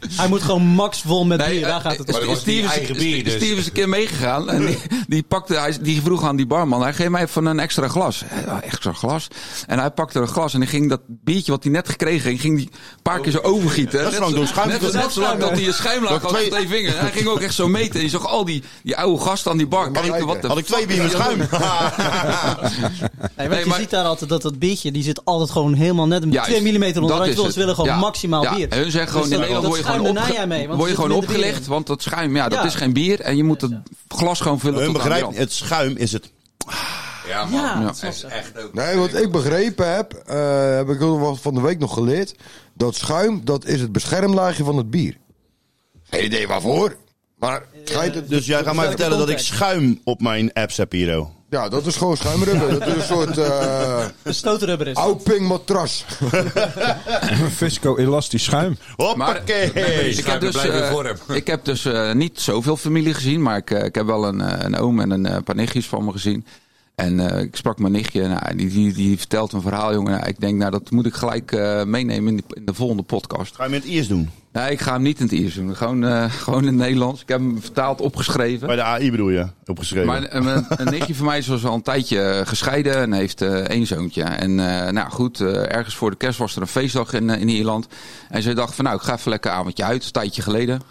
C: Hij moet gewoon max vol met
F: Nee,
C: bier, daar
F: eh,
C: gaat het
F: eh,
C: om.
G: Maar dat was
F: Steve
G: niet
F: is-
G: eigen bier, dus.
F: Steve is een keer meegegaan en die, die pakte, hij, die vroeg aan die barman, hij geef mij even een extra glas. Eh, Extra glas? En hij pakte een glas en hij ging dat biertje wat hij net gekregen ging, ging die een paar keer zo overgieten.
B: Dat is lang
F: zo-
B: door schuim.
F: net, zo- net zo lang dat hij een schuimlaag had twee...
B: twee-
F: twee vingers. Hij ging ook echt zo meten en je zag al die, die oude gasten aan die bar kijken. Wat de
B: Had ik twee bier met schuim.
C: Nee, want
F: Nee,
C: je
F: maar-
C: ziet daar altijd dat dat biertje, die zit altijd gewoon helemaal net een 2 mm onderuit. Terwijl Ze willen gewoon
F: Ja.
C: maximaal
F: Ja.
C: bier.
F: En hun zeggen gewoon,
C: Dus
F: in
C: dat-
F: Nederland
C: dat
F: word je gewoon,
C: schuim
F: opge-
C: daarna jij mee, want
F: word
C: er zit
F: je gewoon
C: minder bier
F: opgelicht.
C: in.
F: Want dat schuim, ja, dat
C: Ja.
F: is geen bier. En je moet het glas gewoon vullen
B: Hun
F: tot aan de
B: begrijpt,
F: rand.
B: het schuim is het.
H: Ja, man.
C: Ja,
F: Ja.
C: dat
H: is
C: is
H: echt ook...
D: Nee, wat ik begrepen heb, eh, heb ik ook wel van de week nog geleerd, dat schuim, dat is het beschermlaagje van het bier. Geen idee waarvoor, maar schijnt het...
B: Dus jij gaat mij
C: dat
B: vertellen dat ik
C: context.
B: schuim op mijn apps heb hier, oh.
D: Ja, dat is gewoon schuimrubber. Dat is een soort eh
C: een stoterrubber
F: Oh,
C: is.
D: oudping matras.
I: Visco-elastisch schuim.
B: Hoppakee.
F: Ik heb dus, eh, ik heb dus eh, niet zoveel familie gezien, maar ik, eh, ik heb wel een, eh, een oom en een eh, paar nichtjes van me gezien. En eh, ik sprak mijn nichtje, nou, die, die, die vertelt een verhaal, jongen. Nou, ik denk, nou, dat moet ik gelijk eh, meenemen in, die- in de volgende podcast.
B: Ga je met Iers doen?
F: Nee, ik ga hem niet in het Iers doen, gewoon, eh, gewoon in het Nederlands. Ik heb hem vertaald, opgeschreven.
B: Bij de AI bedoel je, opgeschreven.
F: Maar een, een- een nichtje van mij is al een tijdje eh, gescheiden en heeft eh, één zoontje. En eh, nou goed, eh, ergens voor de kerst was er een feestdag in, eh, in Ierland. En ze dacht van nou, ik ga even lekker avondje uit, een tijdje geleden.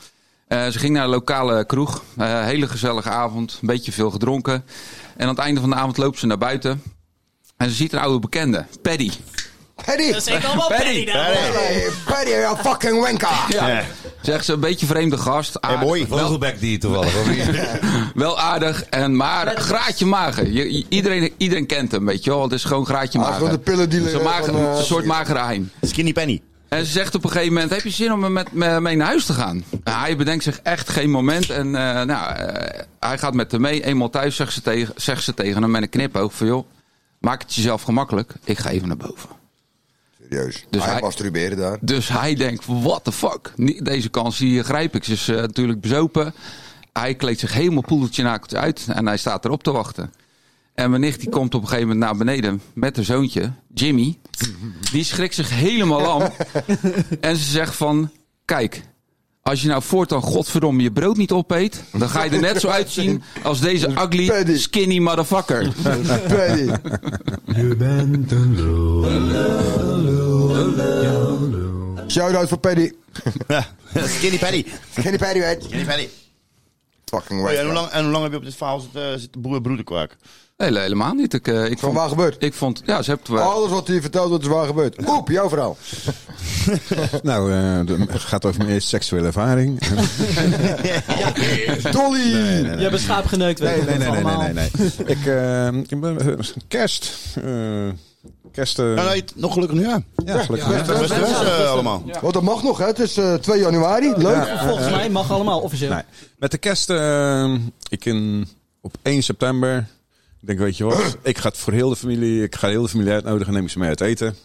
F: Eh, ze ging naar een lokale kroeg. Eh, hele gezellige avond, een beetje veel gedronken. En aan het einde van de avond loopt ze naar buiten. En ze ziet een oude bekende, Paddy.
D: Paddy!
C: Dat zeg ik allemaal Paddy.
B: Paddy.
C: Paddy.
D: Hey, Paddy, you fucking wanker!
F: Ja.
B: Ja.
F: Zeg ze, een beetje vreemde gast. Aardig, wel,
H: Vogelbek die toevallig. of niet?
F: wel aardig, en maar graatje mager. Je- je- iedereen, iedereen kent hem, weet je wel. Het is gewoon graatje
D: Ah,
F: mager.
D: gewoon de pillen die
F: Zo'n
D: liggen
F: mager-
D: van, eh,
F: een soort magere hein.
B: Skinny Penny.
F: En ze zegt op een gegeven moment: Heb je zin om met me mee naar huis te gaan? En hij bedenkt zich echt geen moment. En eh, nou, eh, hij gaat met haar mee. Eenmaal thuis zegt ze, tegen, zegt ze tegen hem met een knipoog: van, joh, Maak het jezelf gemakkelijk. Ik ga even naar boven.
D: Serieus.
F: Dus
D: hij,
F: hij-
D: masturberen daar.
F: Dus hij denkt: What the fuck? Niet- Deze kans hier grijp ik. Ze is eh, natuurlijk bezopen. Hij kleedt zich helemaal poedeltje naakt uit. En hij staat erop te wachten. En mijn nicht die komt op een gegeven moment naar beneden met haar zoontje, Jimmy. Die schrikt zich helemaal lam. en ze zegt van, kijk, als je nou voortaan godverdomme je brood niet opeet... dan ga je er net zo uitzien als deze ugly, skinny motherfucker.
D: Paddy. Shout-out voor Paddy.
B: Skinny Penny.
D: Skinny Paddy, weet.
B: Skinny Penny.
D: Fucking
B: Hey, Oh en, hoe
D: wanker.
B: lang, en hoe lang heb je op dit verhaal zitten, eh, zitten broer broederkwaak?
F: Nee, helemaal niet. Ik, eh, ik
D: Van waar
F: vond...
D: gebeurd?
F: Ik vond, ja, ze hebt wel.
D: Alles wat hij vertelt, dat is waar gebeurd. Oep, jouw verhaal.
I: Nou, eh, de- het gaat over mijn eerste seksuele ervaring.
D: Dolly!
C: Je hebt een schaap geneukt, weet
I: Nee,
C: ik
I: nee, nee,
C: nog
I: nee, nee,
C: allemaal.
I: nee. nee. ik, eh, ik ben eh, kerst. eh, kerst. eh,
B: Nou, nee, nog gelukkig nu aan.
I: ja, gelukkig.
D: ja.
B: Best wel eh, allemaal.
D: Want Oh, dat mag nog, hè? Het is eh, 2 januari. Leuk.
C: Volgens mij mag allemaal officieel.
I: Nee. Met de kerst, eh, ik in, op 1 september. Ik denk, weet je wat, ik ga het voor heel de familie, ik ga heel de familie uitnodigen, neem ik ze mee uit eten.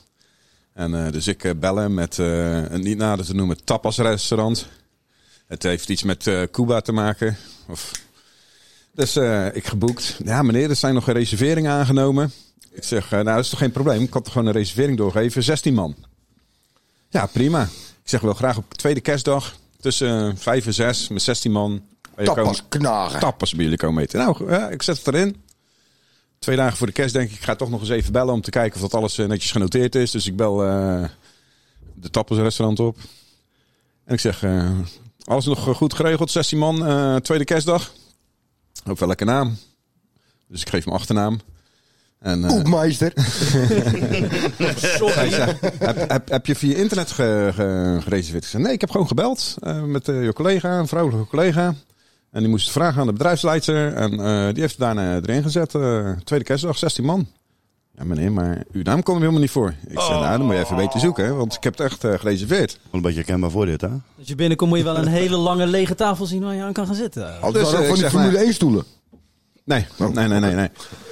I: En eh, dus ik eh, bellen met eh, een niet nader te noemen tapas restaurant. Het heeft iets met eh, Cuba te maken. Of... Dus eh, ik geboekt. Ja meneer, er zijn nog reserveringen aangenomen. Ik zeg, eh, nou dat is toch geen probleem, ik kan toch gewoon een reservering doorgeven, 16 man. Ja, prima. Ik zeg wel graag op tweede kerstdag tussen 5 en 6 met 16 man. Bij je komen-
D: Tapas knagen.
I: tappers bij jullie komen eten. Nou, ja, ik zet het erin. Twee dagen voor de kerst denk ik, ik ga toch nog eens even bellen om te kijken of dat alles eh, netjes genoteerd is. Dus ik bel eh, de tappersrestaurant op. En ik zeg, eh, alles nog goed geregeld, 16 man, eh, tweede kerstdag. Ook wel lekker naam. Dus ik geef hem achternaam. En, eh,
D: Oepmeister.
I: hij zei, heb, heb, heb je via internet ge- ge- gereserveerd? Ik zei, nee, ik heb gewoon gebeld eh, met eh, je collega, een vrouwelijke collega. En die moest het vragen aan de bedrijfsleider. En eh, die heeft het daarna erin gezet. eh, tweede kerstdag, 16 man. Ja, meneer, maar uw naam kwam er helemaal niet voor. Ik zei, nou, dan moet je even weten zoeken, hè, want ik heb het echt eh, gereserveerd.
B: Wel een beetje herkenbaar voor dit, hè?
C: Als je binnenkomt moet je wel een hele lange lege tafel zien waar je aan kan gaan zitten.
D: Altijd
I: Dus,
D: waren ook
I: eh,
D: van
I: ik
D: die
I: zeg
D: Formule
I: maar-
D: 1 stoelen.
I: Nee,
B: Oh.
I: nee, nee, nee. nee.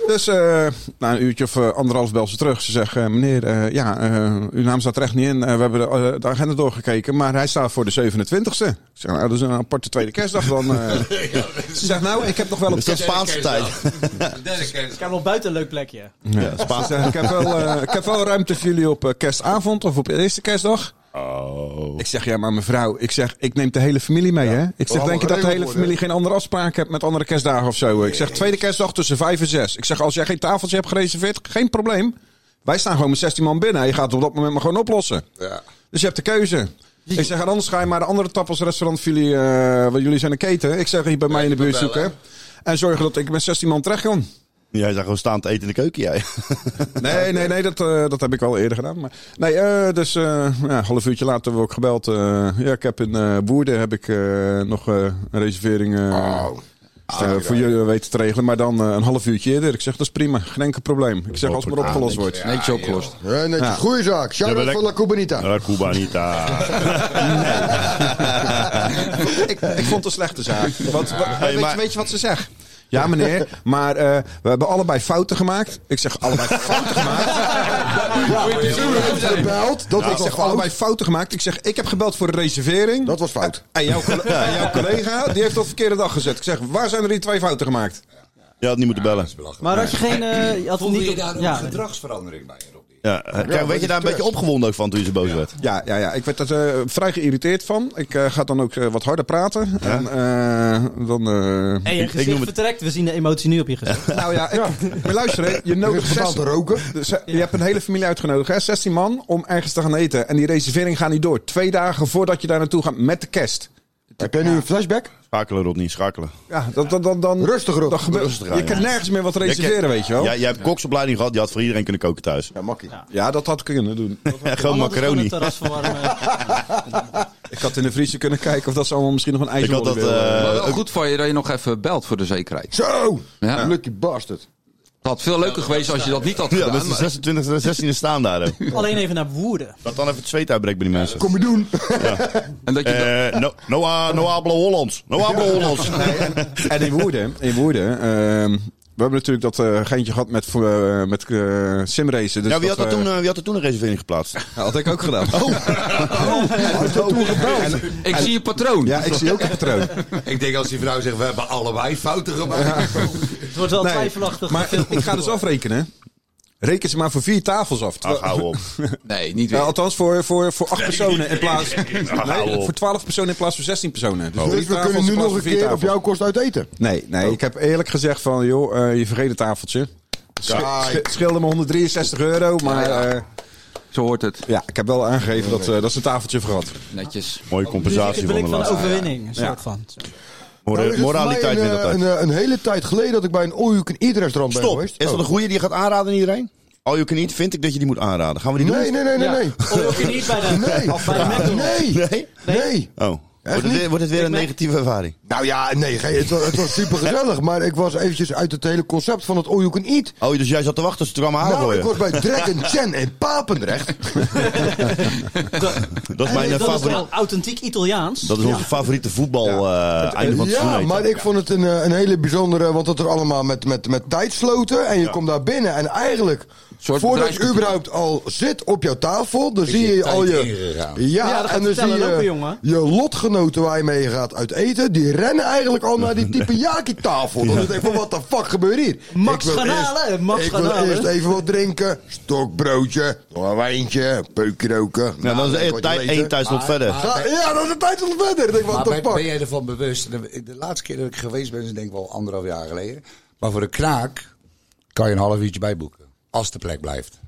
I: Dus eh, na een uurtje of eh, anderhalf bel ze terug. Ze zeggen, eh, meneer, eh, ja, eh, uw naam staat er echt niet in. Eh, we hebben de, eh, de agenda doorgekeken, maar hij staat voor de 27e. Ik zeg, nou, dat is een aparte tweede kerstdag dan. eh. ze zegt, nou, ik heb nog wel op
B: Is dat Spaanse tijd?
C: Ik heb nog buiten een leuk plekje.
B: Ja,
I: Ze
B: Spaanse
I: zegt, ik, heb wel, eh, ik heb wel ruimte voor jullie op eh, kerstavond of op de eerste kerstdag.
B: Oh.
I: Ik zeg, ja, maar mevrouw, ik zeg, ik neem de hele familie mee, hè? Ik zeg,
D: allemaal
I: denk je dat de hele
D: geregeld worden,
I: familie geen andere afspraak hebt met andere kerstdagen of zo? Ik zeg, tweede kerstdag tussen vijf en zes. Ik zeg, als jij geen tafeltje hebt gereserveerd, geen probleem. Wij staan gewoon met 16 man binnen. Je gaat het op dat moment maar gewoon oplossen.
H: Ja.
I: Dus je hebt de keuze. Ik zeg, en anders ga je maar de andere tapasrestaurant voor jullie, eh, want jullie zijn een keten. Ik zeg, hier bij mij in de buurt zoeken. En zorgen dat ik met 16 man terecht kan.
B: Jij zag gewoon staan te eten in de keuken, jij.
I: Nee, nee, nee, dat, eh, dat heb ik al eerder gedaan. Maar, nee, eh, dus eh, ja, een half uurtje later hebben we ook gebeld. eh, ja, ik heb in eh Woerden heb ik, eh, nog eh, een reservering eh,
D: Oh.
I: eh, voor jullie weten te regelen. Maar dan eh, een half uurtje eerder. Ik zeg, dat is prima. Geen enkel probleem. Ik zeg, als het maar opgelost wordt.
F: Netjes opgelost.
D: Ja, netjes. Goeie zaak.
B: Ja,
D: Shout-out
B: maar
D: van La
B: lek-
D: Cubanita.
B: La Cubanita.
I: ik, ik vond het een slechte zaak. Want, wa-
B: Hey,
I: weet,
B: maar-
I: je, weet je wat ze zegt? Ja, meneer, maar eh, we hebben allebei fouten gemaakt. Ik zeg, allebei fouten gemaakt?
D: Gebeld. Dat
I: Nou, ik
D: was
I: zeg,
D: al fout.
I: allebei fouten gemaakt. Ik zeg, ik heb gebeld voor een reservering.
D: Dat was fout.
I: En jouw, colle- en jouw collega, die heeft op de verkeerde dag gezet. Ik zeg, waar zijn er die twee fouten gemaakt?
B: Je had niet moeten bellen.
C: Maar had je geen... eh, je had
H: Voelde
C: niet-
H: je daar een
C: ja.
H: gedragsverandering bij, Rob?
B: Ja, eh, kijk, weet je daar een beetje opgewonden ook van toen je zo boos werd?
I: Ja, ja, ja. ik werd er eh, vrij geïrriteerd van. Ik eh, ga dan ook eh, wat harder praten. En eh, dan... eh,
C: En je gezicht
B: noem het-
C: vertrekt. We zien de emotie nu op je gezicht.
I: nou ja, ik, maar luister, hè, je
D: Ik heb
I: nodigt
D: gebeld
I: zes,
D: te roken.
I: Dus, eh, je hebt een hele familie uitgenodigd, hè? 16 man, om ergens te gaan eten. En die reservering gaat niet door. Twee dagen voordat je daar naartoe gaat met de kerst.
D: Heb jij nu een flashback?
B: Schakelen, Rodney, schakelen.
I: Ja, dan, dan, dan, dan,
D: Rustig, Rob.
I: dan Hm. gebeurt-
B: Rustig aan,
I: je kan
B: ja.
I: nergens meer wat
B: Jij
I: reserveren,
B: ken-
I: weet je wel.
B: Oh. Ja,
I: Ja,
B: jij hebt koksopleiding gehad, je had voor iedereen kunnen koken thuis.
D: makkie.
I: dat had ik kunnen doen.
B: Gewoon macaroni.
C: Het terras verwarmen.
I: Ik had in de vriezer kunnen kijken of dat ze allemaal misschien nog een ijsje
B: Ik had dat...
I: wilden.
F: Maar
B: eh,
F: wel goed van je dat je nog even belt voor de zekerheid.
D: Zo!
F: Ja.
D: Lucky bastard.
F: Het had veel leuker geweest als je dat niet had
B: ja,
F: gedaan.
B: dat is de
F: maar-
B: 26 e 16 staan daar. ook.
C: eh, Alleen even naar Woerden.
B: Dat dan even het zweet uitbreekt bij die mensen.
D: Kom je doen.
F: en dat je dat-
B: Eh, no, no, ah, no hablo Hollands. No hablo Hollands.
I: En in woorden, in woorden ehm, we hebben natuurlijk dat eh, geintje gehad met, eh, met eh, simracen. Dus
B: Ja, wie had, dat
I: we-
B: toen, Oh. eh, wie had er toen een reservering geplaatst?
I: had ik ook gedaan.
D: Eh,
F: ik zie je patroon.
I: Ja, ik zie ook een patroon.
B: Oh.
H: Ik denk als die vrouw zegt, we hebben allebei fouten gemaakt.
C: Het wordt wel twijfelachtig.
I: maar
C: gefilmd.
I: ik ga dus afrekenen. Reken ze maar voor vier tafels af.
B: Ach, hou op.
F: Nee, niet
I: Eh,
F: weer.
I: althans, voor, voor, voor acht personen in plaats...
B: hou
I: Nee,
B: op.
I: voor twaalf personen in plaats van zestien personen. Dus, drie
D: Dus we
I: tafels
D: kunnen
I: in
D: nu
I: plaats
D: nog
I: van
D: een
I: vier
D: keer op
I: tafels.
D: jouw kost uit eten.
I: Nee,
D: Oh.
I: nee, ik heb eerlijk gezegd van... joh, eh, je vergeet het tafeltje. Sche- sche- Scheelde me 163 euro, maar...
F: Ja,
I: Ja,
F: ja. Zo hoort het.
I: ja, ik heb wel aangegeven dat, eh, dat ze een tafeltje voor had.
F: Netjes.
B: Mooie
C: Dus
B: compensatie
C: ik wil
B: van de
C: ik van
B: last.
C: overwinning, een soort van.
B: Mora-
D: Nou is het voor
B: moraliteit
D: mij
B: in
D: een,
B: dat
D: eh, een,
B: tijd.
D: eh, een hele tijd geleden dat ik bij een all you can eat restaurant ben
B: Stop.
D: geweest. Oh.
B: Is dat een goede die je gaat aanraden aan iedereen? Al je kan niet, vind ik dat je die moet aanraden. Gaan we die
D: Oh. Nee, nee, nee, nee,
C: Ja.
D: nee.
C: Of ook niet bij de, bij
D: Nee.
C: de McDonald's.
D: Nee.
B: doen? Nee?
D: Nee.
B: Oh. Wordt het, weer, wordt het weer een negatieve ervaring?
D: Nou ja, nee, ge- het was, het was super gezellig, maar ik was eventjes uit het hele concept van het all you can eat.
B: Oh, dus jij zat te wachten ze te kwamen
D: Nou,
B: aangooien?
D: ik was bij Dragon Chen in Papendrecht.
B: dat is mijn eh,
C: dat is
B: favoriet.
C: wel authentiek Italiaans.
B: Dat is onze favoriete voetbal eh, einde van het
D: Ja,
B: seizoen.
D: maar ik vond het een, eh, een hele bijzondere, want dat er allemaal met, met, met tijdsloten en je komt daar binnen en eigenlijk...
F: soort
D: Voordat je
F: bedrijfscultuur.
D: überhaupt al zit op jouw tafel, dan zie je
H: je
D: al
H: tijd
D: je.
H: ingegaan.
D: Ja,
C: Ja, dat
D: en dan
C: gaat
D: zie
C: vertellen ook,
D: je
C: jongen.
D: je lotgenoten waar je mee gaat uit eten. Die rennen eigenlijk al naar die teppanyaki-tafel. Dan denk ik van, wat de fuck gebeurt hier?
C: Max
D: Ik wil
C: gaan
D: eerst-
C: halen, Max
D: Ik
C: gaan
D: wil
C: halen.
D: eerst even wat drinken. Stokbroodje, nog een wijntje, peukje roken. Nou,
B: Ja, dan is
D: lekker
B: één
D: wat je
B: tijd-
D: weet, hè.
B: één thuisland verder.
D: Ga- Ja, dat is een tijd tot verder. Ik denk, wat
H: Maar
D: de
H: ben, ben
D: fuck?
H: jij ervan bewust? De, de laatste keer dat ik geweest ben, is denk ik wel anderhalf jaar geleden. Maar voor de kraak kan je een half uurtje bijboeken. Als de plek blijft.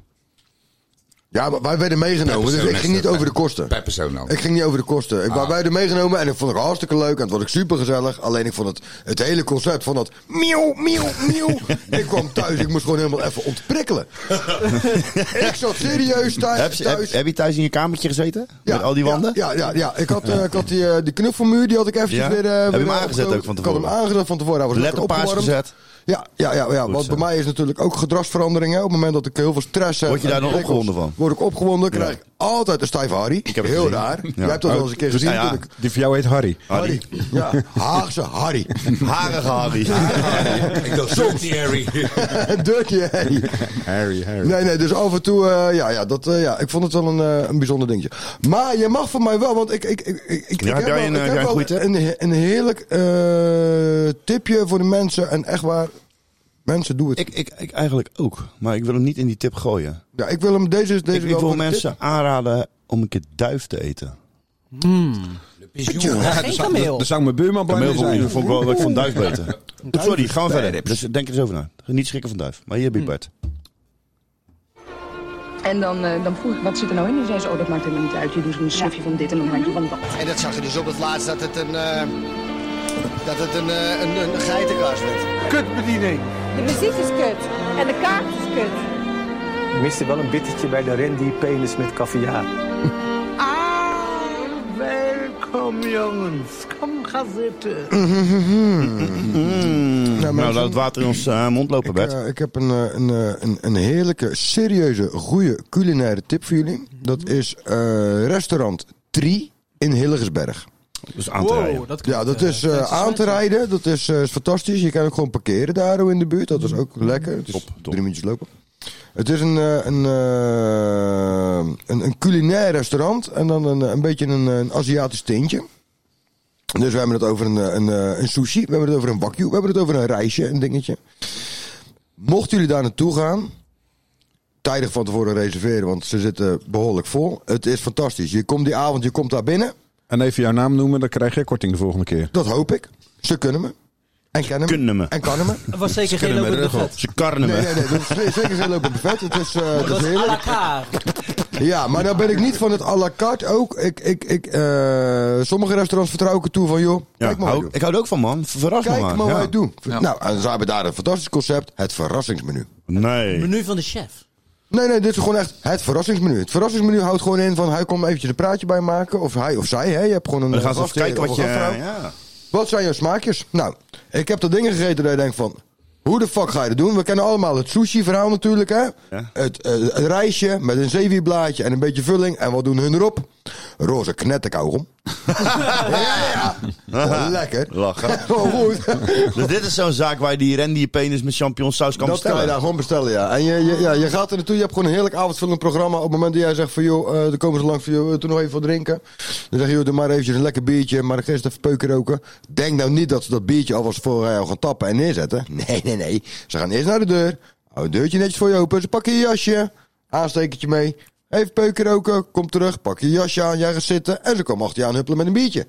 D: Ja, maar wij werden
H: Per
D: meegenomen, dus
H: persoon
D: Nou, ik
H: is
D: ging
H: dat,
D: niet
B: eh,
D: over
H: hè?
D: de kosten.
H: Per persoon dan.
D: Ik ging niet over de kosten. Ik
H: Ah.
D: werd beide meegenomen en ik vond het hartstikke leuk. En het was ook super gezellig. Alleen ik vond het, het hele concept van dat miauw, miauw, miauw. ik kwam thuis, ik moest gewoon helemaal even ontprikkelen. ik zat serieus thuis.
B: Heb, je- heb,
D: thuis.
B: heb je thuis in je kamertje gezeten?
D: Ja,
B: Met al die wanden?
D: Ja, ja, ja, ja. Ik, had, eh, ik had die, eh, die knuffelmuur, die had ik eventjes
B: Ja?
D: weer... eh,
B: Heb je
D: weer
B: hem aangezet
D: opgekomen.
B: ook van
D: Ik had
B: tevoren?
D: hem aangezet van tevoren. Hij was
B: Let
D: lekker
B: op paars
D: opgewarmd.
B: gezet.
D: Ja, ja, ja, ja. want
B: zo.
D: bij mij is natuurlijk ook gedragsverandering. Hè. Op het moment dat ik heel veel stress heb...
B: Word je daar
D: en
B: dan
D: prikkels,
B: opgewonden van?
D: Word ik opgewonden, krijg ik altijd een stijve harry.
B: heb het
D: heel
B: gezien.
D: raar.
B: Ja. Oh. nou
D: Jij hebt dat wel eens een keer gezien
B: Ja, ja.
D: natuurlijk.
I: Die voor jou heet Harry.
D: Harry. Ja, Haagse Harry.
B: Harige Harry.
H: Ik dacht, soms Harry.
D: Dirty Harry.
I: Harry, Harry.
D: Nee, nee, dus af en toe, eh, ja, ja, dat, eh, ja, ik vond het wel een, eh, een bijzonder dingetje. Maar je mag van mij wel, want ik, ik, ik, ik, ik
B: heb
D: heb
B: jij
D: wel-
B: een,
D: ik
B: eh,
D: heb
B: jij een
D: wel
B: goeie tip?
D: een, he- een heerlijk eh, tipje voor de mensen. En echt waar, mensen, doe het.
B: ik, ik, ik eigenlijk ook. Maar ik wil hem niet in die tip gooien.
D: ja, ik wil hem deze, deze
B: Ik, ik wil
D: wel voor de tip.
B: mensen aanraden om een keer duif te eten.
C: Geen kameel.
I: Er zou mijn buurman blij mee
B: Kameel
I: zijn.
B: vond ik wel dat ik van duif beter. Sorry, gaan we verder. Dus denk er eens over na. Niet schrikken van duif. Maar hier, Bert.
D: Mm.
K: En dan, eh, dan vroeg ik, wat zit er nou in? En zei ze, oh, dat maakt helemaal niet uit. Je doet een snufje van dit en een handje van dat.
L: En dat zag je dus op het laatst dat het een, eh, dat het een, eh, een, een geitenkaas werd.
K: De muziek is kut. En de kaart is kut.
L: Ik miste wel een bittertje bij de Randy penis met caviar. Ah, welkom jongens. Kom ga zitten.
D: Nou,
B: Nou,
D: mensen,
B: laat het water in ons eh, mond lopen,
D: ik,
B: Bert.
D: eh, ik heb een, eh, een, eh, een, een heerlijke, serieuze, goede culinaire tip voor jullie. Dat
I: Mhm.
D: is eh, restaurant Tri in Hilligersberg.
B: Dus aan te rijden.
C: Oh, dat
D: Ja, dat is eh, aan te rijden. Dat is, eh, is fantastisch. Je kan ook gewoon parkeren daar in de buurt. Dat is ook lekker. Het is
B: Top, top.
D: Drie minuutjes lopen. Het is een, eh, een, eh, een, een culinair restaurant. En dan een, een beetje een, een Aziatisch tintje. Dus we hebben het over een, eh, een, eh, een sushi. We hebben het over een wakju. We hebben het over een rijstje, een dingetje. Mochten jullie daar naartoe gaan, tijdig van tevoren reserveren, want ze zitten behoorlijk vol. Het is fantastisch. Je komt die avond, je komt daar binnen.
I: En even jouw naam noemen, dan krijg je korting de volgende keer.
D: Dat hoop ik. Ze kunnen me. En kennen me.
B: kunnen me.
D: En kunnen me.
C: Het was zeker geen
I: kunnen
C: lopende
I: met
C: vet.
B: Ze karnen me.
D: Nee, nee, nee. Dat is zeker geen lopend buffet. Het is, eh, dat
C: Dat
D: is
C: is à la
D: heerlijk.
C: carte.
D: Ja, maar nou ben ik niet van het à la carte ook. Ik, ik, ik, eh, sommige restaurants vertrouw ik er toe van, joh,
B: Ja,
D: kijk maar
B: hou-
D: wat ik
B: ik hou er ook van, man. Verras
D: doe.
B: me
D: Kijk
B: maar.
D: maar
B: ja.
D: wat ik doe.
B: Ja.
D: Nou, en ze hebben daar een fantastisch concept, het verrassingsmenu.
B: Nee.
C: Menu van de chef.
D: Nee, nee, dit is gewoon echt het verrassingsmenu. Het verrassingsmenu houdt gewoon in van hij komt eventjes een praatje bij maken. Of hij of zij, hè. Je hebt gewoon een...
B: Dan gaan ze
D: een
B: even kijken wat
D: gastheer
B: je...
D: of een gastvrouw.
B: Ja.
D: Wat zijn jouw smaakjes? Nou, ik heb er dingen gegeten dat je denkt van... Hoe de fuck ga je dat doen? We kennen allemaal het sushi-verhaal natuurlijk, hè? Het, eh, het rijstje met een zeewieblaadje en een beetje vulling. En wat doen hun erop? Roze knetterkauwgom. Lekker.
B: Lachen.
D: Gewoon goed.
B: dus dit is zo'n zaak waar je die rendier penis met champignonsaus kan
D: dat kan
B: bestellen.
D: je daar gewoon bestellen, ja. En je, je, ja, je gaat er naartoe, je hebt gewoon een heerlijk avondvullend programma. Op het moment dat jij zegt van, joh, eh, dan komen ze langs van, joh, eh, toen nog even wat drinken. Dan zeg je, joh, doe maar eventjes een lekker biertje, maar eerst even peuken roken. Denk nou niet dat ze dat biertje alvast voor jou gaan tappen en neerzetten. Nee, nee, nee. Ze gaan eerst naar de deur. Hou het deurtje netjes voor je open. Ze pakken je jasje, aanstekertje mee. Even peuken roken, kom terug, pak je jasje aan, jij gaat zitten. En ze komen achter je aan huppelen met een biertje.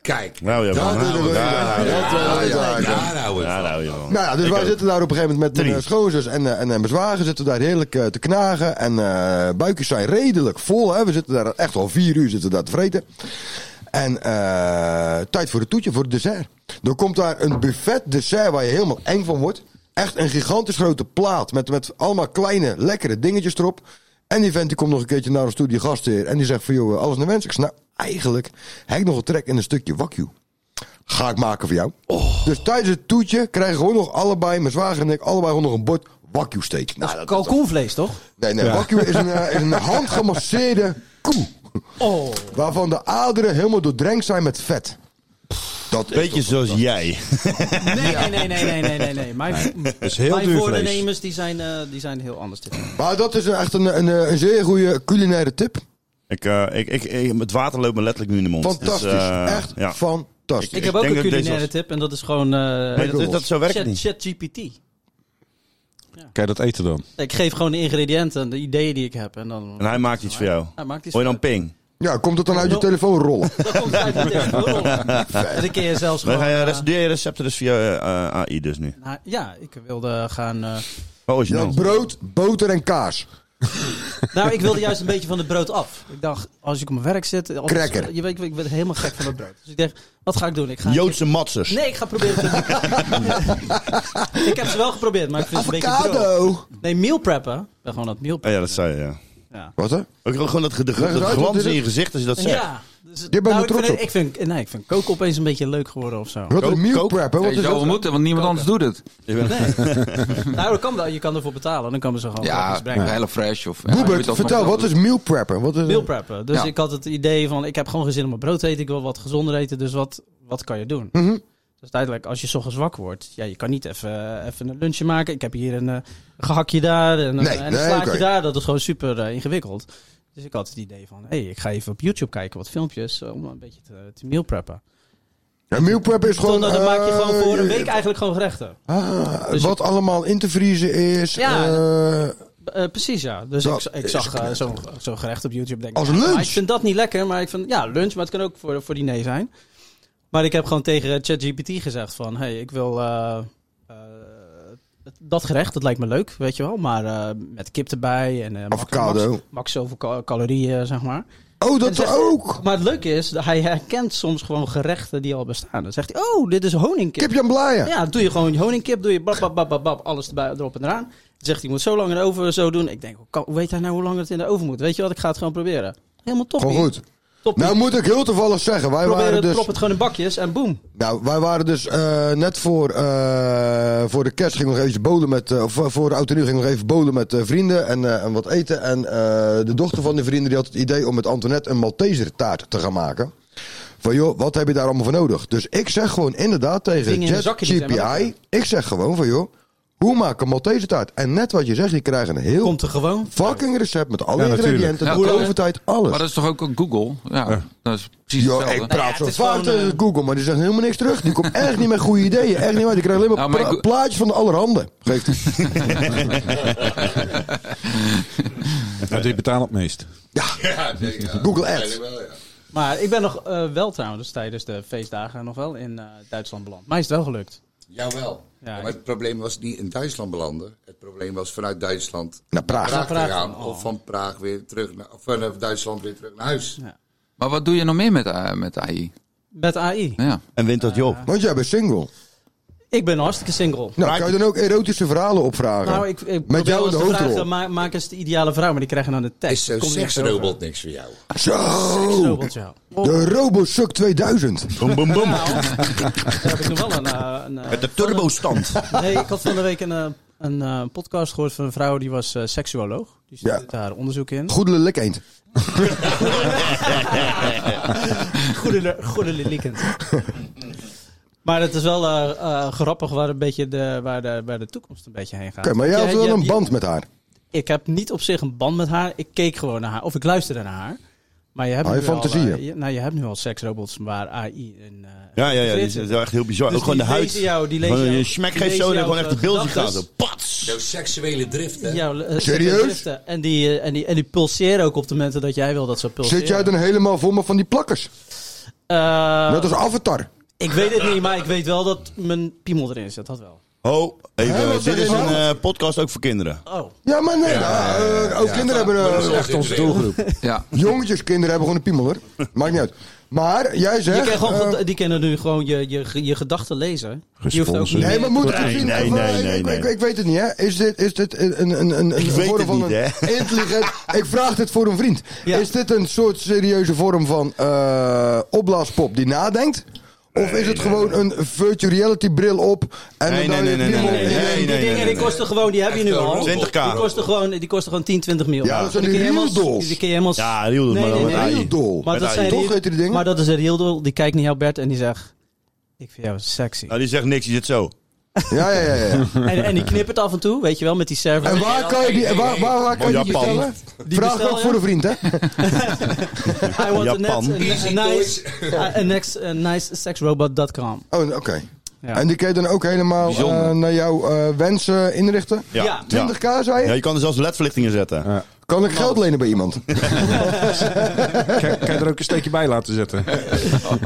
H: Kijk.
B: Nou ja, man.
D: Dat is
B: Nou,
D: een-
B: daar-
D: dat is een-
H: ja,
D: dat is een-
H: daar houden we
B: Ja,
H: van.
B: nou, joh.
D: nou ja, dus
B: Ik
D: wij
B: ook.
D: zitten daar op een gegeven moment met
B: Drie.
D: mijn schoonzus en, eh, en, en mijn zwager zitten daar heerlijk eh, te knagen. En eh buikjes zijn redelijk vol. Hè. We zitten daar echt al vier uur zitten daar te vreten. En eh, tijd voor het toetje, voor het dessert. Dan komt daar een buffet dessert waar je helemaal eng van wordt. Echt een gigantisch grote plaat met, met allemaal kleine, lekkere dingetjes erop. En die vent die komt nog een keertje naar ons toe, die gastheer. En die zegt van, joh, alles naar wens. Ik zeg, nou, eigenlijk heb ik nog een trek in een stukje wakju ga ik maken voor jou. Dus tijdens het toetje krijgen we gewoon nog allebei, mijn zwager en ik, allebei gewoon nog een bord wagyu steak. Nou, dat-
C: Kalkoenvlees, toch?
D: nee, nee,
C: Ja.
D: wagyu is een, eh, is een handgemasseerde koe.
C: Oh,
D: Waarvan de aderen helemaal doordrenkt zijn met vet. Dat is
B: Beetje
D: toch-
B: zoals jij.
C: Nee, nee, nee, nee, nee, nee, nee. nee. Mijn,
H: Dus
B: is heel
C: mijn
B: duur vlees.
C: voornemens die zijn, eh, die zijn heel anders. Dit.
D: Maar dat is echt een, een, een zeer goede culinaire tip.
B: Ik, eh, ik, ik, ik- het water loopt me letterlijk nu in de mond.
D: Fantastisch,
B: Dus, eh,
D: echt
B: ja.
D: fantastisch.
C: Ik heb ook
B: denk
C: een
B: dat deze
C: culinaire
B: was-
C: tip en dat is gewoon... eh,
B: dat is- dat zo werkt
C: Chat-
B: niet.
C: ChatGPT.
I: Kan je dat eten dan?
C: Ik geef gewoon de ingrediënten en de ideeën die ik heb. En dan
B: En hij maakt iets voor jou.
C: Hij maakt iets
B: Hoor je dan
C: voor
B: ping?
D: Ja, komt het dan uit je telefoon rollen?
C: En dan kun je zelfs
B: Dan
C: gewoon...
B: ga je,
C: eh,
B: rest- doe je recepten dus via eh, AI dus nu.
C: nou, ja, ik wilde gaan... eh,
B: Oh, is je
D: Ja,
B: nou?
D: brood, boter en kaas.
C: Nou, ik wilde juist een beetje van het brood af. Ik dacht, als ik op mijn werk zit... altijd-
D: Cracker.
C: Je weet, ik ben helemaal gek van het brood. Dus ik dacht, wat ga ik doen? Ik ga
B: Joodse matsers.
C: Nee, ik ga proberen te- ik heb ze wel geprobeerd, maar ik vind ze een beetje droog.
D: Avocado.
C: Nee, meal preppen. Ik ben gewoon aan het meal
B: Ah, ja, dat zei je, ja.
C: Ja.
D: Wat hè?
B: Ook gewoon dat, ge- de, ge-
D: Leg eens
B: dat
D: uit, wat
B: glans
D: is
B: in je
D: het?
B: gezicht als je dat
C: preppen.
B: zegt.
C: Ja. Dus,
D: Je bent er
C: ik
D: trots
C: vind,
D: op.
C: Ik vind, nee, ik vind koken opeens een beetje leuk geworden of zo.
D: Wat
F: Kook,
D: een meal
F: kook.
D: prep, hè? Wat
F: Nee,
D: is
F: je zou
D: dat?
F: wel moeten, want niemand anders doet het.
C: Nou, dat kan wel. Je kan ervoor betalen. Dan kan ze gewoon
F: Ja,
C: gratis brengen.
F: hele fresh. Of, ja, je weet
D: Boebert,
F: dat
D: vertel,
F: nog wel.
D: wat is meal preppen? Wat is,
C: Meal preppen. Dus
F: Ja.
C: ik had het idee van, ik heb gewoon geen zin om mijn brood te eten. Ik wil wat gezonder eten. Dus wat, wat kan je doen?
D: Mhm.
C: Dus uiteindelijk, als je 's ochtends wakker wordt, ja, je kan niet even, eh, even een lunchje maken. Ik heb hier een eh, gehakje daar en, een-
D: Nee,
C: en een
D: nee,
C: slaatje
D: oké.
C: daar. Dat is gewoon super eh, ingewikkeld. Dus ik had het idee van, hey, ik ga even op YouTube kijken wat filmpjes eh, om een beetje te, te meal preppen.
D: Ja, meal prep is gewoon...
C: Gewoon, dan maak je
D: eh,
C: gewoon voor een
D: je-
C: week eigenlijk gewoon gerechten.
D: Ah,
C: Dus
D: wat allemaal in te vriezen is.
C: Ja.
D: eh,
C: Eh, precies, ja. Dus
D: Dat
C: ik, ik
D: is
C: zag eh,
D: knap.
C: zo'n zo'n gerecht op YouTube. Denk, ik,
D: Als
C: ja,
D: lunch?
C: maar Ik vind dat niet lekker, maar ik vind, ja, lunch, maar het kan ook voor, voor diner zijn. Maar ik heb gewoon tegen ChatGPT gezegd van, hey, ik wil eh, eh, het- dat gerecht, dat lijkt me leuk, weet je wel. Maar eh, met kip erbij en eh, max-
D: Avocado.
C: Max, max zoveel cal- calorieën, zeg maar.
D: oh, dat
C: En zegt-
D: ook.
C: Maar het leuke is, hij herkent soms gewoon gerechten die al bestaan. Dan zegt hij, oh, dit is honingkip.
D: Kip Jan Blaaien.
C: Ja, dan doe je gewoon honingkip, doe je bab, bab, bab, bab, bab, alles erbij, erop en eraan. Dan zegt hij, je moet zo lang in de oven zo doen. Ik denk, hoe, kan- hoe weet hij nou hoe lang het in de oven moet? Weet je wat, ik ga het gewoon proberen. Helemaal top.
D: Gewoon goed.
C: Top.
D: Nou moet ik heel toevallig zeggen, wij
C: Probeer
D: waren
C: het,
D: dus,
C: prop het gewoon in bakjes en boem.
D: nou, wij waren dus eh, net voor, eh, voor de kerst gingen we nog even bolen met, eh, of voor de oud en nieuw gingen we nog even bolen met eh, vrienden en, eh, en wat eten. En eh, de dochter van de vrienden die had het idee om met Antoinette een Malteser taart te gaan maken. Van joh, wat heb je daar allemaal voor nodig? Dus ik zeg gewoon inderdaad tegen
C: Dingen in de zakje niet, hè, maar
D: ChatGPI, ik zeg gewoon van joh, hoe maak ik een Malteser taart? En net wat je zegt, je krijgt een heel
C: Komt er gewoon.
D: Fucking recept met alle
I: Ja, natuurlijk.
D: ingrediënten,
F: Ja,
D: de
F: klopt.
D: overtijd, alles.
F: Maar dat is toch ook een Google? Ja, dat is precies
D: Yo,
F: hetzelfde.
D: ik praat
C: het
D: zo
C: is
D: vaak
C: gewoon,
D: tegen
C: eh,
D: Google, maar die zegt helemaal niks terug. Die komt echt niet met goede ideeën. Echt niet waar. Die krijgt alleen maar
F: Nou, maar
D: pla-
F: ik-
D: plaatjes van de allerhande. Geeft hij.
I: Ja, die betalen het meest.
H: Ja, nee, ja.
D: Google Ads.
H: Ja, wel, ja.
C: Maar ik ben nog eh, wel trouwens tijdens de feestdagen nog wel in eh, Duitsland beland. Mij is het wel gelukt.
H: Jawel.
C: Ja,
H: maar het probleem was niet in Duitsland belanden. Het probleem was vanuit Duitsland
D: naar Praag,
H: Praag te
F: Naar Praag.
C: Oh.
H: gaan. Of van Praag weer terug naar, of vanaf Duitsland weer terug naar huis.
F: Maar wat doe je nog meer met, eh, met AI?
C: Met AI.
F: Ja.
B: En wint dat joh.
D: Want jij bent single.
C: Ik ben hartstikke single.
D: Nou, kan je dan ook erotische verhalen opvragen?
C: Nou, ik, ik probeer
D: Met jou in de
C: wel eens te vragen,
D: hoofdrol.
C: ma- maak eens de ideale vrouw, maar die krijgen dan de tekst.
H: Is zo'n
C: Komt niet echt
H: seksrobot
C: Eh, over.
H: niks voor jou?
D: Zo!
C: Seksrobot, ja.
D: De Robosuck 2000.
C: Hm?
B: Boom, boom, boom.
C: Nou. Daar heb ik nog wel een... eh, een, eh,
B: Met de turbostand.
C: Nee, ik had van de week een, eh, een eh, podcast gehoord van een vrouw die was eh, seksuoloog. Die zit daar onderzoek in.
D: Goedele lek eend.
C: goede, goede likend. Maar het is wel eh, eh, grappig waar, een beetje de, waar, de, waar de toekomst een beetje heen gaat.
D: Oké, maar jij had wel een band met haar.
C: Ik heb niet op zich een band met haar. Ik keek gewoon naar haar. Of ik luisterde naar haar. Maar je hebt,
D: Ah, je
C: nu, al,
D: fantasieën.
C: eh, je- nou, je hebt nu al seksrobots waar AI in... eh,
B: Ja, ja, ja. Die
C: zit.
B: is wel echt heel bizar.
C: Dus
B: ook gewoon de
C: die
B: huid.
C: lezen jou- die lezen
B: Gewoon
C: jou-
B: je smack
C: die
B: geeft
C: lezen
B: zo en dan
C: jouw,
B: gewoon echt de
C: eh,
B: beeldjes gaan.
C: gedachtes.
B: Zo, pats!
H: Jouw seksuele drift, hè?
C: Ja, eh,
D: Serieus?
C: driften. En die, eh, en, die, en die pulseren ook op de momenten dat jij wil dat ze pulseren.
D: Zit jij dan helemaal vol met van die plakkers?
C: Eh,
D: Net als Avatar.
C: Ik weet het niet, maar ik weet wel dat mijn piemel erin zit. Dat wel.
B: Oh,
D: Hè,
B: even.
D: wat zeg
B: dit is
D: je
B: een
D: nou?
B: eh, podcast ook voor kinderen.
C: Oh.
D: Ja, maar nee. nou, eh, ook kinderen hebben... eh,
H: echt onze doelgroep.
F: Ja.
D: jongetjes, kinderen hebben gewoon een piemel, hoor. Maakt niet uit. Maar jij
C: Je
D: zegt...
C: kan gewoon,
D: eh,
C: ged- die kennen nu gewoon je, je, ge- je gedachten lezen. Je hoeft ook niet
D: Nee, maar moet ik het
B: Nee,
D: zien?
B: nee,
D: Even,
B: nee,
D: ik-
B: nee,
D: ik-
B: nee.
D: Ik, ik weet het niet, hè? Is dit, is dit een, een, een, een
B: Ik
D: een
B: weet
D: vorm
B: het
D: van
B: niet,
D: een
B: hè?
D: intelligent... ik vraag dit voor een vriend.
C: Ja.
D: Is dit een soort serieuze vorm van eh opblaaspop die nadenkt? Of is het gewoon een virtual reality bril op en
B: Nee,
D: dan
B: nee,
D: je
B: nee, nee,
D: piemel
B: nee,
D: in?
B: nee.
C: die dingen die
B: nee.
C: kosten gewoon, die heb je nu al.
B: 20k.
C: Die kosten gewoon, die kosten gewoon 10, 20 miljoen.
D: Ja, dat zijn die
C: kun je helemaal-
D: real dolls.
C: Die kun je helemaal...
B: Ja, heel doet
C: Nee,
B: maar dan
C: nee,
B: met
C: nee.
B: AI.
D: Heel dol.
C: maar,
B: met
C: dat
B: AI.
C: zijn
D: Toch
C: die-
D: heet die dingen?
C: maar dat is een real doll, die kijkt naar Bert en die zegt... Ik vind jou sexy.
B: Nou, die zegt niks. Die zit zo.
D: Ja, ja, ja. ja.
C: En, en die knippert af en toe, weet je wel, met die server.
D: En waar kan je die, en waar, waar, waar kan je die
B: Japan.
D: bestellen?
C: Die
D: Vraag
C: bestel
D: dat
C: je?
D: voor een vriend, hè?
C: I want a
B: Japan.
C: net- a nice, a, a next, a nice sexrobot.com.
D: Oh, oké.
C: Ja.
D: En die kun je dan ook helemaal
B: Bijzonder.
D: eh, naar jouw eh, wensen inrichten?
B: Ja.
C: Ja.
D: 20k, zei je?
B: Ja, je kan er zelfs ledverlichting in zetten.
D: Kan ik geld lenen bij iemand?
I: Kan, kan je er ook een steekje bij laten zetten?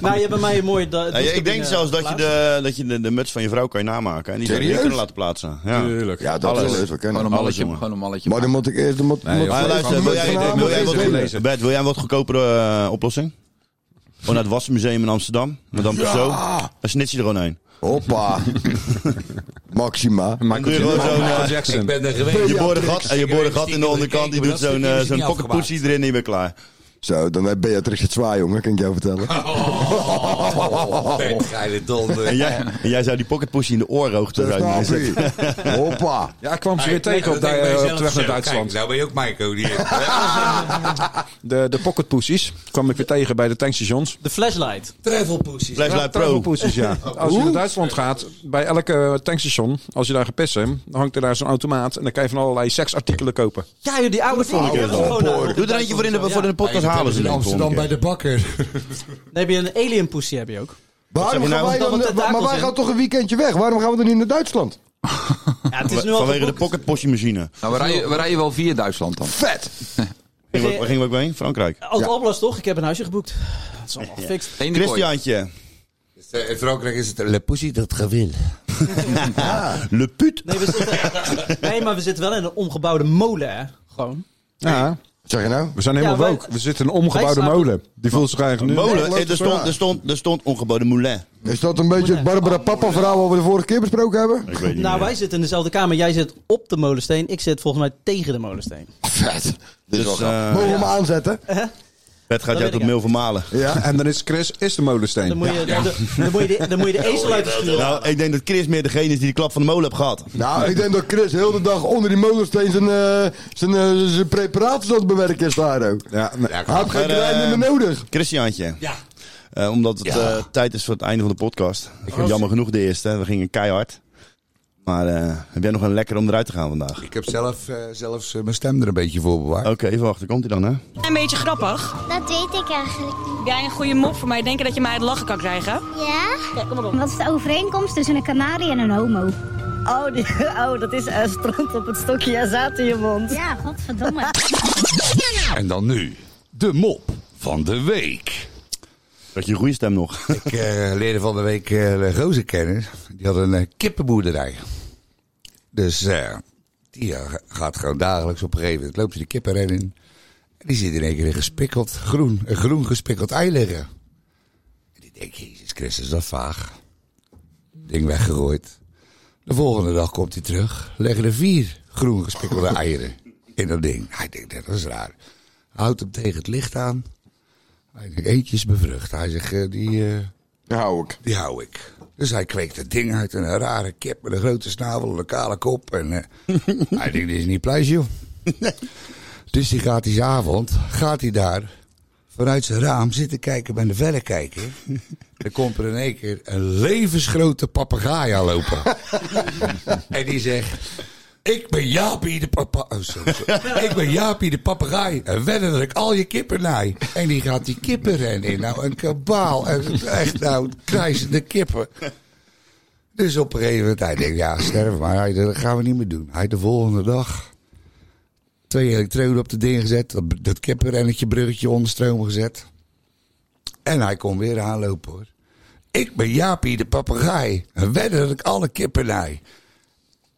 C: Nou, je hebt bij mij een mooie... da-
B: Ja, ik denk
C: dingen
B: zelfs dat je,
C: geplaatst.
B: de, dat je de, de muts van je vrouw kan je namaken. En die zou je
D: Serieus?
B: kunnen laten plaatsen. Ja.
I: Tuurlijk.
D: Ja, dat
B: Alles.
D: is leuk. We kennen.
F: Gewoon een
B: Alles,
F: malletje.
B: jongen.
F: Gewoon een malletje.
D: Maar dan moet ik eerst... Dan moet,
I: Nee,
D: moet-
I: joh.
B: Maar
I: Van-
B: luister,
I: van-
B: wil
I: van-
B: jij,
I: van-
B: wil
I: van-
B: jij wat,
I: van-
B: Bert, Bert, wil jij een wat goedkopere eh, oplossing? Gewoon naar het Wassenmuseum in Amsterdam. Madame Tussauds. Dan snit je er gewoon een.
D: Hoppa. Maxima.
B: Dan doe je gewoon zo'n... eh,
I: Jackson.
H: Ik ben er geweest.
B: je boren
H: Beatrix.
B: gat en je
H: Ik
B: boren
H: heb
B: gat in de
H: stiekem
B: onderkant. Die
H: gekeken,
B: doet
H: maar dat
B: zo'n
H: stukje
B: eh,
H: is
B: zo'n
H: niet afgemaakt.
B: kokkenpoetsie erin en je bent klaar.
D: Zo, dan heeft Beatrix het zwaar, jongen. Kan ik jou vertellen.
H: Oh, Bert, geile donder.
B: En jij, en jij zou die pocketpoesie in de oorhoogte zijn.
D: Dat snap ik. Hoppa.
I: Ja, ik kwam ze weer tegen op,
H: dat denk Ah, ik bij
I: de, op
H: mezelf
I: de weg naar
H: zo.
I: Duitsland.
H: Kijk, nou ben je ook Michael. Die
I: De, de pocket poesies kwam ik weer tegen bij de tankstations.
C: De flashlight.
H: travel poesies.
B: Flashlight Pro.
I: Poesies, ja. Als je naar Duitsland gaat, bij elke eh, tankstation, als je daar gaat pissen, dan hangt er daar zo'n automaat en dan kan je van allerlei seksartikelen kopen.
C: Ja, joh, die oude Oh, nou, vond
B: keer wel. Doe er eentje voor in de, voor in de podcast halen ze
H: in
B: denk ik, volgende
H: Amsterdam
B: keer.
H: bij de bakker.
C: Dan heb je een alien pussy, heb je ook.
D: Waarom gaan
I: nou-
D: wij
C: Want
D: dan,
C: dat
D: maar
C: tentakels
D: wij
C: in.
D: gaan toch een weekendje weg? Waarom gaan we dan niet naar Duitsland?
C: Ja, het is nu al
B: Vanwege de
C: geboekt.
B: pocketpossiemachine.
F: Nou, we, rijden, we rijden wel via Duitsland dan.
D: Vet.
B: Gingen we- Waar gingen we ook mee? Frankrijk.
C: Oud Alblas toch? Ik heb een huisje geboekt. Dat is allemaal gefixt.
F: Eén kooi.
B: Christiaantje.
H: Dus, eh, In Frankrijk is het Le Pussy dat gewil.
B: Le put.
C: Nee, we zitten, nee, maar we zitten wel in een omgebouwde molen, hè? Gewoon.
I: Ja,
D: Wat zeg je nou?
I: we zijn helemaal
C: Ja, wij-
I: woke. We zitten in een omgebouwde
C: wij slapen-
I: molen. Die voelt zich eigenlijk nu...
B: Molen.
D: Nee,
B: eh, Er stond, er stond, er stond ongeboden moulin.
D: Is dat een beetje het Barbara Papa verhaal wat we de vorige keer besproken hebben?
B: Ik weet niet
C: Nou,
B: meer.
C: wij zitten in dezelfde kamer. Jij zit op de molensteen. Ik zit volgens mij tegen de molensteen.
D: Vet. Dit is wel
B: Dus,
D: grappig.
B: eh,
D: Mogen we hem aanzetten?
B: Bert gaat jou
C: weet
B: tot
C: ik
B: mail vermalen.
D: Ja.
I: En dan is Chris, is de
C: Dan
I: molensteen.
C: moet je, de, dan moet je de, dan moet je de ezel uit de schuur.
B: Nou, ik denk dat Chris meer degene is die de klap van de molen heeft gehad.
D: Nou, ik denk dat Chris heel de dag onder die molensteen zijn, eh, zijn, eh, zijn preparaties aan het bewerken is daar ook.
I: Ja, nee.
D: Hij heeft geen
B: Maar, eh,
D: trein meer nodig.
B: Christiaantje.
H: Ja.
B: Eh, omdat het eh, tijd is voor het einde van de podcast. Ik vond jammer genoeg de eerste. We gingen keihard. Maar eh, heb jij nog een lekker om eruit te gaan vandaag?
H: Ik heb zelf, eh, zelfs eh, mijn stem er een beetje voor bewaard.
B: Oké, even wachten. Komt hij dan, hè?
M: Een beetje grappig.
N: Dat weet ik eigenlijk niet.
M: Heb jij een goede mop voor mij? Denken dat je mij het lachen kan krijgen?
N: Ja?
M: Kijk, kom maar op.
N: Wat is de overeenkomst tussen een kanarie en een homo?
O: Oh, die, oh dat is eh stront op het stokje en zaad in je mond.
N: Ja, godverdomme.
H: En dan nu, de mop van de week.
B: Dat je een goede stem nog.
H: Ik eh, leerde van de week eh, de gozer kennen. Die had een eh, kippenboerderij. Dus eh,
I: Die eh, gaat gewoon dagelijks op een gegeven moment. Loopt hij de kippenren in. En die zit in één keer een gespikkeld groen, een groen gespikkeld ei liggen. En ik denk, Jezus Christus, dat is vaag. Ding weggegooid. De volgende dag komt hij terug. Leggen er vier groen gespikkelde eieren in dat ding. Hij denkt, dat is raar. Houdt hem tegen het licht aan. Hij denkt, eentje is bevrucht. Hij zegt, eh, die... eh
D: die hou ik.
I: Die hou ik. Dus hij kweekt dat ding uit. Een rare kip met een grote snavel, een kale kop. En eh, hij denkt, dit is niet pluis, joh. Dus die gaat die avond, gaat hij daar vanuit zijn raam zitten kijken bij de verrekijker. Dan komt er in één keer een levensgrote papegaai aanlopen. en die zegt... Ik ben Jaapie de papa. oh, sorry, sorry. Ik ben Jaapie de papegaai. En wedden dat ik al je kippen naai. En die gaat die kippen rennen in. Nou, een kabaal. En Echt, nou, krijzende kippen. Dus op een gegeven moment, hij denkt, ja, sterf maar. Hij, dat gaan we niet meer doen. Hij de volgende dag twee elektroden op de ding gezet. Dat, dat kippenrennetje, bruggetje onder stroom gezet. En hij kon weer aanlopen hoor. Ik ben Jaapie de papegaai. En wedden dat ik alle kippen naai.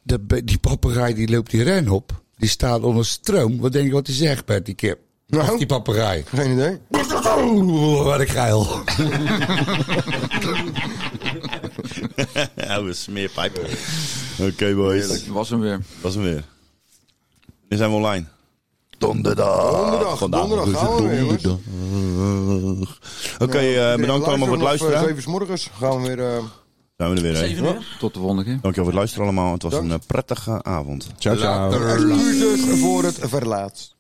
I: De, be- die papegaai die loopt die ren op. Die staat onder stroom. Wat denk je wat hij zegt bij die kip? Of die papegaai. Oh,
D: Geen idee.
I: Wat een geil.
B: Oude smeerpijp. Oké, boys.
F: Was hem weer.
B: Was hem weer. Nu zijn we online.
P: Donderdag.
D: Donderdag,
P: Vandaag
D: donderdag
P: is het
D: gaan we weer, jongens.
P: donderdag.
B: Oké, eh, bedankt allemaal voor het luisteren.
D: Zeven 's morgens gaan we weer... eh,
B: Zijn we er weer heen.
D: Zeven uur.
F: Tot de volgende keer.
B: Dankjewel voor het luisteren allemaal. Het was een eh, prettige avond.
Q: Ciao, ciao.
D: Excuses voor het verlaat.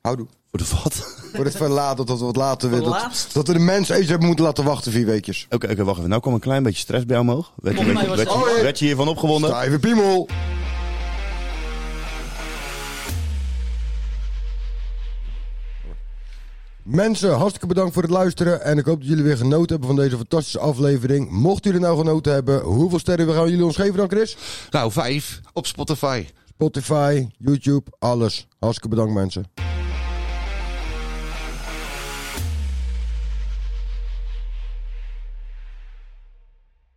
D: Houdoe.
B: Voor de wat?
D: Voor het verlaat dat we wat later weer... Dat,
C: Verlaat?
D: dat we de mensen even hebben moeten laten wachten vier weekjes.
B: Oké, oké, wacht even. Nou kwam een klein beetje stress bij jou omhoog. Werd je,
C: Volgens
B: werd,
C: mij
B: je- werd,
C: was het
B: je-
C: al, hè?
B: werd je hiervan opgewonden?
D: Stijve piemel. Mensen, hartstikke bedankt voor het luisteren. En ik hoop dat jullie weer genoten hebben van deze fantastische aflevering. Mochten jullie nou genoten hebben, hoeveel sterren gaan jullie ons geven dan, Chris?
I: Nou, vijf op Spotify.
D: Spotify, YouTube, alles. Hartstikke bedankt, mensen.